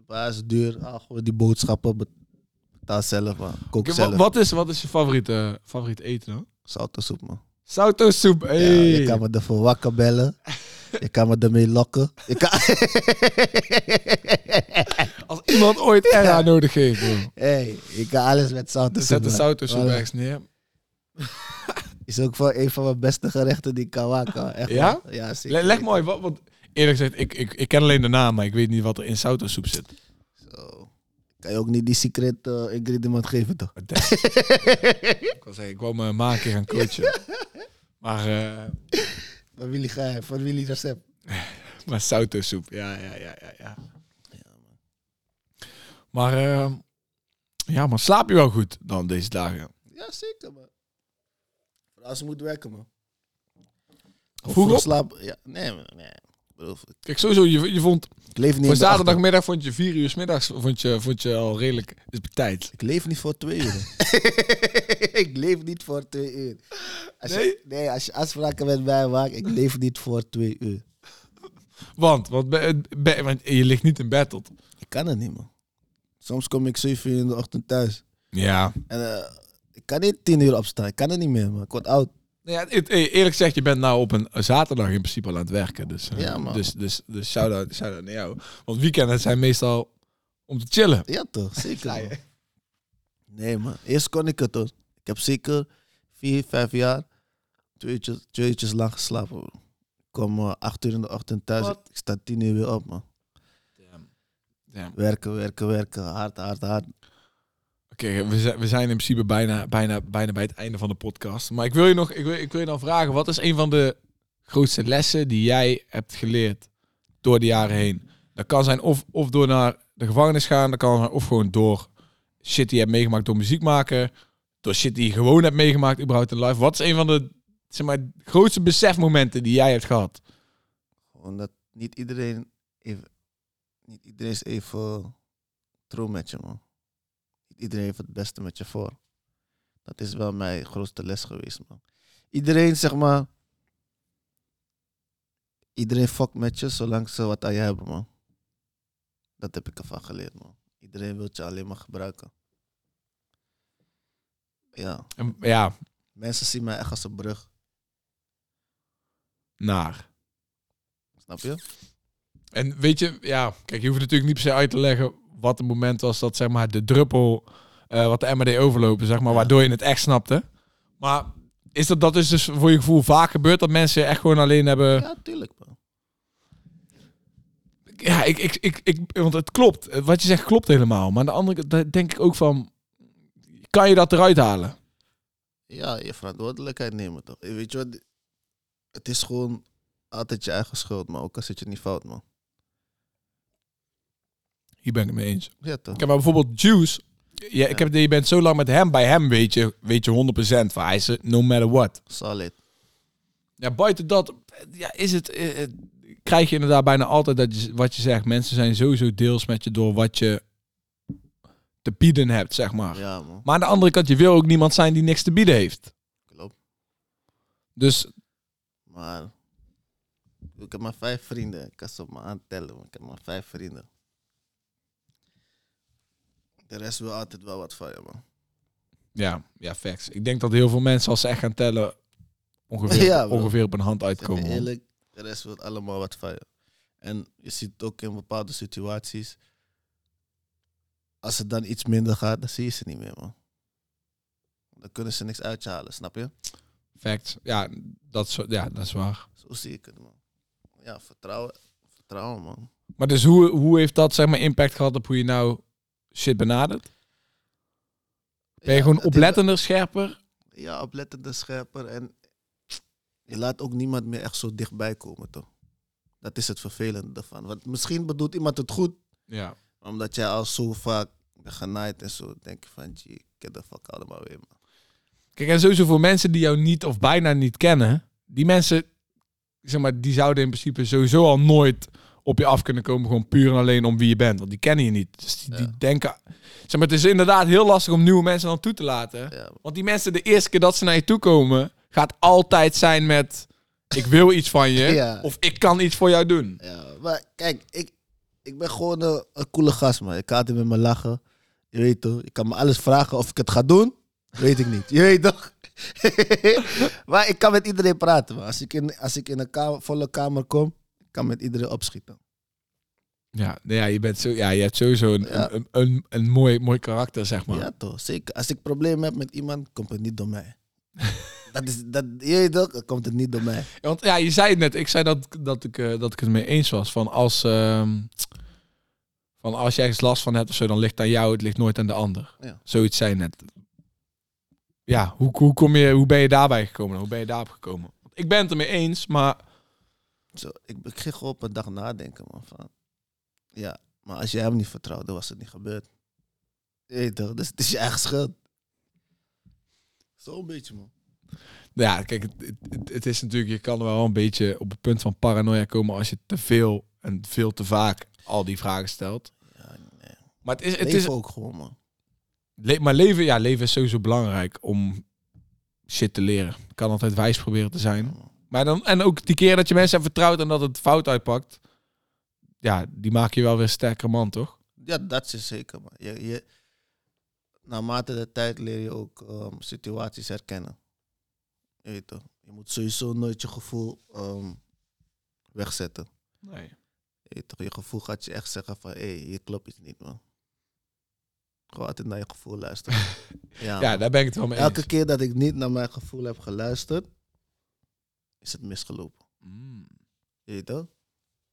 S2: Waar is het duur? Ah, gewoon die boodschappen bet- betaal zelf, man. Kook
S1: Oké, wa-
S2: zelf.
S1: wat, is, wat is je favoriete, favoriet eten dan?
S2: Zoutensoep, man.
S1: Sautosoep. Hey.
S2: Ja, je kan me ervoor wakker bellen. Je kan me ermee lokken. Je kan...
S1: Als iemand ooit RA nodig heeft, bro.
S2: hey, je kan alles met zout
S1: Zet de sautosoep
S2: Voilà.
S1: ergens neer.
S2: Is ook wel een van mijn beste gerechten die ik kan maken. man. Echt,
S1: Ja?
S2: man. Ja, zeker.
S1: Le- leg mooi, wat, want eerlijk gezegd, ik, ik, ik ken alleen de naam, maar ik weet niet wat er in sautosoep zit.
S2: Zo. Kan je ook niet die secret eh, ingredient geven, toch?
S1: Wat denk je? ik wil zeggen, ik wou me maar een keer gaan coachen. Maar, eh
S2: Van Willy Geij, van Willy Recept.
S1: maar sautosoep, ja, ja, ja, ja. ja. Maar, eh, ja, maar slaap je wel goed dan deze dagen?
S2: Ja, zeker, man. Vooral Als je moet werken, man.
S1: Vroeg
S2: Vroeg
S1: op?
S2: slapen. Ja, nee, man, nee. Ik bedoel,
S1: Kijk, sowieso, je, je vond...
S2: Ik
S1: Voor
S2: leef niet in de achter-
S1: zaterdagmiddag vond je vier uur 's middags vond je, vond je al redelijk... is op tijd.
S2: Ik leef niet voor twee uur. ik leef niet voor twee uur. Als Je, nee, als je afspraken met mij maakt, ik leef niet voor twee uur.
S1: Want, want, be- be- want je ligt niet in bed tot...
S2: Ik kan het niet, man. Soms kom ik zeven uur in de ochtend thuis.
S1: Ja,
S2: En eh, ik kan niet tien uur opstaan. Ik kan het niet meer, man. Ik word oud.
S1: Nou ja, het- eh, eerlijk gezegd, je bent nou op een zaterdag in principe al aan het werken. Dus, eh,
S2: Ja, man.
S1: dus, dus, dus shout-out shout naar jou. Want weekenden zijn meestal om te chillen.
S2: Ja, toch? Zeker.
S1: Ja,
S2: man. Nee, man. Eerst kon ik het, hoor. Ik heb zeker vier, vijf jaar twee uurtjes, twee uurtjes lang geslapen. hoor. Ik kom eh, acht uur in de ochtend thuis.
S1: Wat?
S2: Ik sta tien uur weer op, man. Werken, werken, werken. Hard, hard, hard.
S1: Oké, we, zijn- we zijn in principe bijna, bijna, bijna bij het einde van de podcast. Maar ik wil je nog ik wil, ik wil je dan vragen, wat is een van de grootste lessen die jij hebt geleerd door de jaren heen? Dat kan zijn of, of door naar de gevangenis gaan, dat kan zijn of gewoon door shit die je hebt meegemaakt door muziek maken, door shit die je gewoon hebt meegemaakt überhaupt in life. Wat is een van de zeg maar, grootste besefmomenten die jij hebt gehad?
S2: Gewoon dat niet iedereen even, niet iedereen is even true met je, man. Niet iedereen heeft het beste met je voor. Dat is wel mijn grootste les geweest, man. Iedereen, zeg maar, iedereen fuck met je zolang ze wat aan je hebben, man. Dat heb ik ervan geleerd, man. Iedereen wil je alleen maar gebruiken. Ja,
S1: En, ja,
S2: mensen zien mij echt als een brug,
S1: naar.
S2: snap je?
S1: En weet je, ja, kijk, je hoeft natuurlijk niet per se uit te leggen wat het moment was dat zeg maar de druppel, eh, wat de MRD overlopen, zeg maar,
S2: Ja.
S1: waardoor je het echt snapte. Maar is dat, dat is dus voor je gevoel vaak gebeurd dat mensen echt gewoon alleen hebben.
S2: Ja, tuurlijk, man.
S1: Ja, ik, ik, ik, ik, want het klopt. Wat je zegt klopt helemaal. Maar aan de andere kant daar denk ik ook van, kan je dat eruit halen?
S2: Ja, je verantwoordelijkheid nemen toch. Eh, Weet je wat? Het is gewoon altijd je eigen schuld, maar ook al zit je niet fout, man.
S1: Hier ben ik het mee eens.
S2: Ja, toch?
S1: Kijk, maar bijvoorbeeld Juice. Ja, ik
S2: Ja.
S1: heb, je bent zo lang met hem. Bij hem weet je, weet je 100% van hij is er no matter what.
S2: Solid.
S1: Ja, buiten dat ja, is het, eh, eh, krijg je inderdaad bijna altijd dat je, wat je zegt. Mensen zijn sowieso deels met je door wat je te bieden hebt, zeg maar.
S2: Ja, man.
S1: Maar aan de andere kant, je wil ook niemand zijn die niks te bieden heeft.
S2: Klopt.
S1: Dus
S2: Maar ik heb maar vijf vrienden. Ik kan ze op me aantellen, maar ik heb maar vijf vrienden. De rest wil altijd wel wat van je, man.
S1: ja, ja, facts. Ik denk dat heel veel mensen, als ze echt gaan tellen, ongeveer,
S2: Ja, bro.
S1: ongeveer op een hand
S2: Ik ben
S1: uitkomen. hoor.
S2: eerlijk, de rest wil allemaal wat van je. En je ziet het ook in bepaalde situaties. Als het dan iets minder gaat, dan zie je ze niet meer, man. Dan kunnen ze niks uit je halen, snap je?
S1: Facts. Ja dat, is, ja, dat is waar.
S2: Zo zie ik het, man. Ja, vertrouwen. Vertrouwen, man.
S1: Maar dus hoe, hoe heeft dat, zeg maar, impact gehad op hoe je nou shit benadert? Ben je
S2: Ja,
S1: gewoon
S2: het is-
S1: oplettender, scherper?
S2: Ja, oplettende scherper. En je laat ook niemand meer echt zo dichtbij komen, toch? Dat is het vervelende ervan. Want misschien bedoelt iemand het goed,
S1: Ja.
S2: maar omdat jij al zo vaak bent genaaid en zo, denk je van, gee, get the fuck allemaal weer, man.
S1: Kijk, en sowieso voor mensen die jou niet of bijna niet kennen, die mensen, zeg maar, die zouden in principe sowieso al nooit op je af kunnen komen, gewoon puur en alleen om wie je bent, want die kennen je niet. Dus die, die
S2: Ja.
S1: denken, zeg maar, het is inderdaad heel lastig om nieuwe mensen dan toe te laten,
S2: Ja,
S1: want die mensen de eerste keer dat ze naar je toe komen, gaat altijd zijn met, ik wil iets van je,
S2: Ja.
S1: of ik kan iets voor jou doen.
S2: ja, maar kijk, ik, ik ben gewoon een, een coole gast, man. Ik ga altijd met me lachen. Je weet toch, je kan me alles vragen of ik het ga doen. Weet ik niet. Je weet toch? maar ik kan met iedereen praten, man. Als ik in, als ik in een kamer, volle kamer kom, ik kan met iedereen opschieten.
S1: Ja, nou ja, je bent zo, ja, je hebt sowieso een,
S2: Ja.
S1: een, een, een mooi, mooi karakter, zeg maar.
S2: Ja, toch? Zeker. Als ik problemen heb met iemand, komt het niet door mij. dat is, dat, je weet toch, dan komt het niet door mij.
S1: Ja, Want ja, je zei het net. Ik zei dat, dat, ik, eh, dat ik het mee eens was. Van als, ehm, van als jij ergens last van hebt of zo, dan ligt het aan jou. Het ligt nooit aan de ander.
S2: Ja.
S1: Zoiets zei je net. Ja, hoe, hoe, kom je, hoe ben je daarbij gekomen? Hoe ben je daarop gekomen? Want Ik ben het ermee eens, maar
S2: Zo, ik begin gewoon op een dag nadenken, man. Van, ja, maar als jij hem niet vertrouwde, was het niet gebeurd. Je weet toch, dus het is je eigen schuld. Zo'n beetje, man.
S1: ja, kijk, het, het, het is natuurlijk, je kan wel een beetje op het punt van paranoia komen als je te veel en veel te vaak al die vragen stelt.
S2: Ja, nee.
S1: Maar het is,
S2: Het
S1: het
S2: Leef
S1: is,
S2: is ook gewoon, man.
S1: Le- maar leven, ja, leven is sowieso belangrijk om shit te leren. Ik kan altijd wijs proberen te zijn. Maar dan, en ook die keer dat je mensen hebt vertrouwd en dat het fout uitpakt. Ja, die maak je wel weer een sterker man, toch?
S2: Ja, dat is zeker, man. Je, je, naarmate de tijd leer je ook ehm, situaties herkennen. Je weet toch, Je moet sowieso nooit je gevoel ehm, wegzetten.
S1: Nee.
S2: Je, weet Eh, toch, je gevoel gaat je echt zeggen van, hé, hey, hier klopt iets niet, man. Gewoon altijd naar je gevoel luisteren. ja,
S1: Ja,
S2: man.
S1: daar ben ik het wel mee eens.
S2: Elke keer dat ik niet naar mijn gevoel heb geluisterd, is het misgelopen.
S1: Mm.
S2: Je weet toch?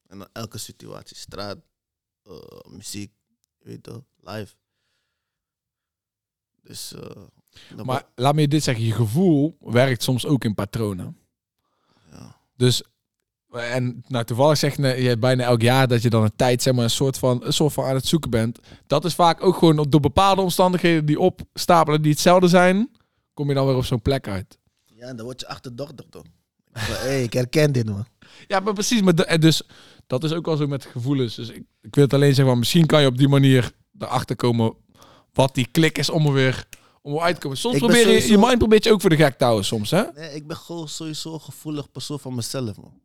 S2: En dan elke situatie, straat, eh, muziek, je weet toch, live. Dus, eh, dan
S1: Maar laat me je dit zeggen, je gevoel werkt soms ook in patronen.
S2: wordt- ja.
S1: Dus, en nou toevallig zeg je je hebt bijna elk jaar dat je dan een tijd, zeg maar, een soort van, een soort van aan het zoeken bent. Dat is vaak ook gewoon op- door bepaalde omstandigheden die opstapelen, die hetzelfde zijn, kom je dan weer op zo'n plek uit.
S2: ja, en dan word je achterdochtig dan. Hé, hey, ik herken dit, man.
S1: Ja, maar precies. Maar de- en dus, dat is ook wel zo met gevoelens. Dus ik, ik wil het alleen zeggen, maar misschien kan je op die manier erachter komen wat die klik is om er weer om er uit te komen. Soms
S2: Ik ben
S1: probeer je,
S2: sowieso-
S1: je mind probeert je ook voor de gek te houden soms, hè?
S2: Nee, ik ben gewoon sowieso een gevoelig persoon van mezelf, man.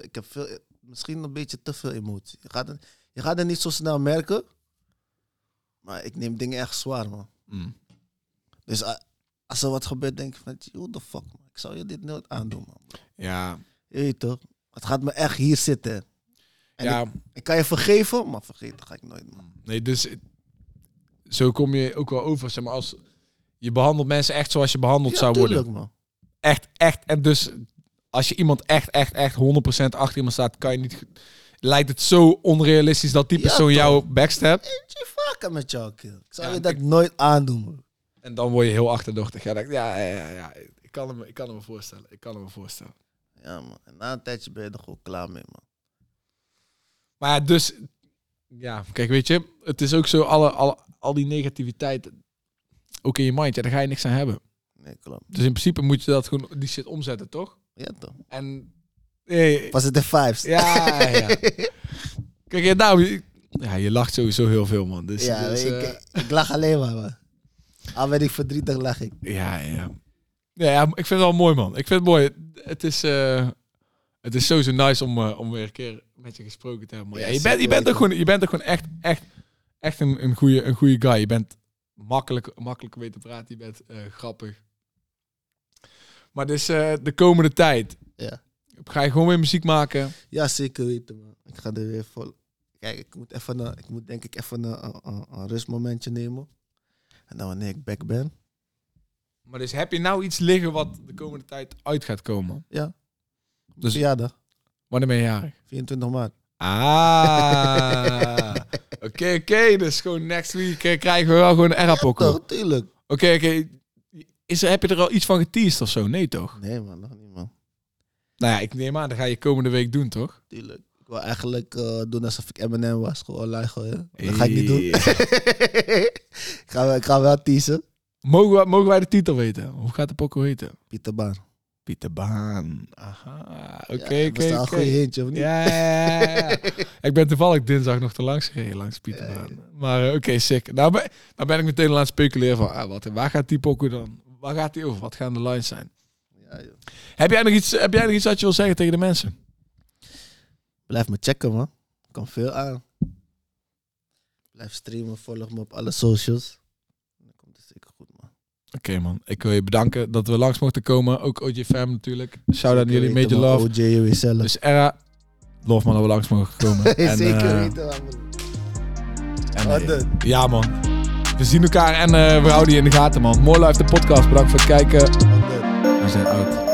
S2: Ik heb veel, misschien een beetje te veel emotie. Je gaat, het, je gaat het niet zo snel merken, maar ik neem dingen echt zwaar, man.
S1: Mm.
S2: Dus ah, als er wat gebeurt, denk ik van, what the fuck, man. Ik zou je dit nooit aandoen, man.
S1: Ja,
S2: Je weet toch? Het gaat me echt hier zitten. En
S1: ja.
S2: Ik kan je vergeven, maar vergeten ga ik nooit, man.
S1: Nee, dus eh, zo kom je ook wel over. Zeg maar, als je behandelt mensen echt zoals je behandeld zou worden.
S2: tuurlijk, man.
S1: Echt, echt. En dus als je iemand echt, echt, echt 100% achter iemand staat, kan je niet. ge- Lijkt het zo onrealistisch dat die
S2: Ja,
S1: persoon
S2: toch?
S1: jou backstapt.
S2: Ik je vaker met jou, kill. Ik zou
S1: Ja,
S2: je
S1: ik-
S2: dat nooit aandoen, man.
S1: En dan word je heel achterdochtig. Ja, dat- ja, ja, ja, ja. Ik, kan hem, ik kan hem me voorstellen. Ik kan hem me voorstellen.
S2: Ja, man. En na een tijdje ben je er gewoon klaar mee, man.
S1: Maar ja, dus. Ja, kijk, weet je. Het is ook zo, alle, alle, al die negativiteit. Ook in je mind. Ja, daar ga je niks aan hebben.
S2: Nee, klopt.
S1: Dus in principe moet je dat gewoon, die shit omzetten, toch?
S2: Ja, toch?
S1: En. eh,
S2: Was het de vibes?
S1: ja, ja. Kijk, ja, nou, je- ja, je lacht sowieso heel veel, man. Dus,
S2: Ja,
S1: dus,
S2: ik,
S1: eh,
S2: ik lach alleen maar, man. Al ben ik verdrietig, lach ik.
S1: ja, ja. Ja, ja, ik vind het wel mooi, man. Ik vind het mooi. Het is, eh, het is sowieso nice om, eh, om weer een keer met je gesproken te hebben. man.
S2: Ja,
S1: Ja, je, bent, je,
S2: zeker
S1: bent ook
S2: weten.
S1: gewoon, je bent ook gewoon echt, echt, echt een, een, goede, een goede guy. Je bent makkelijk, makkelijk mee te praten. Je bent eh, grappig. Maar dus eh, de komende tijd
S2: Ja.
S1: ga je gewoon weer muziek maken.
S2: Ja, zeker weten, man. Ik ga er weer vol. Kijk, ik moet, even een, ik moet denk ik even een, een- een, een rustmomentje nemen. En dan wanneer ik back ben.
S1: Maar dus heb je nou iets liggen wat de komende tijd uit gaat komen?
S2: Ja.
S1: Dus-
S2: Dus verjaardag,
S1: Wanneer ben je jarig?
S2: 24 maart.
S1: Ah. Oké, oké. Dus gewoon next week eh, krijgen we wel gewoon een era-pokkel.
S2: Toch,
S1: Oké,
S2: Oh, tuurlijk.
S1: oké. Is er- Heb je er al iets van geteased of zo? Nee, toch?
S2: Nee, man, nog niet, man.
S1: Nou ja, ik neem aan, dat ga je komende week doen, toch?
S2: Tuurlijk. Ik wil eigenlijk eh, doen alsof ik Eminem was. Gewoon online gooien. Dat ga ik niet doen. ik, ga, wel- ik ga wel teasen.
S1: Mogen, we- mogen wij de titel weten? Hoe gaat de pokkel heten?
S2: Pieter Baan.
S1: Pieter Baan. Aha. Oké,
S2: ja,
S1: oké,
S2: Dat is wel een
S1: oké.
S2: goede hintje, of niet?
S1: Ja, ja, ja, ja. ik ben toevallig dinsdag nog te langs gereden langs Pieter
S2: Ja, ja.
S1: Baan. Maar eh, oké, sick. Nou ben, nou ben ik meteen al aan het speculeren van, ah, wat, waar gaat die pokoe dan? Waar gaat die over? Wat gaan de lines zijn?
S2: Ja, joh.
S1: Heb jij nog iets, heb jij nog iets wat je wil zeggen tegen de mensen?
S2: Blijf me checken, man. Kan veel aan. Blijf streamen, volg me op alle socials. Dan komt het zeker goed, man.
S1: Oké man, ik wil je bedanken dat we langs mochten komen. Ook OJFM natuurlijk. Shout out aan jullie,
S2: Weten,
S1: Major
S2: man.
S1: Love.
S2: OJ, jullie zelf.
S1: Dus Era, love man dat we langs mogen komen. En,
S2: zeker
S1: eh,
S2: weten, man.
S1: en,
S2: Oh,
S1: eh,
S2: de-
S1: ja man, we zien elkaar en eh, we houden je in de gaten man. More Life de podcast, bedankt voor het kijken.
S2: Oh, de-
S1: We zijn uit.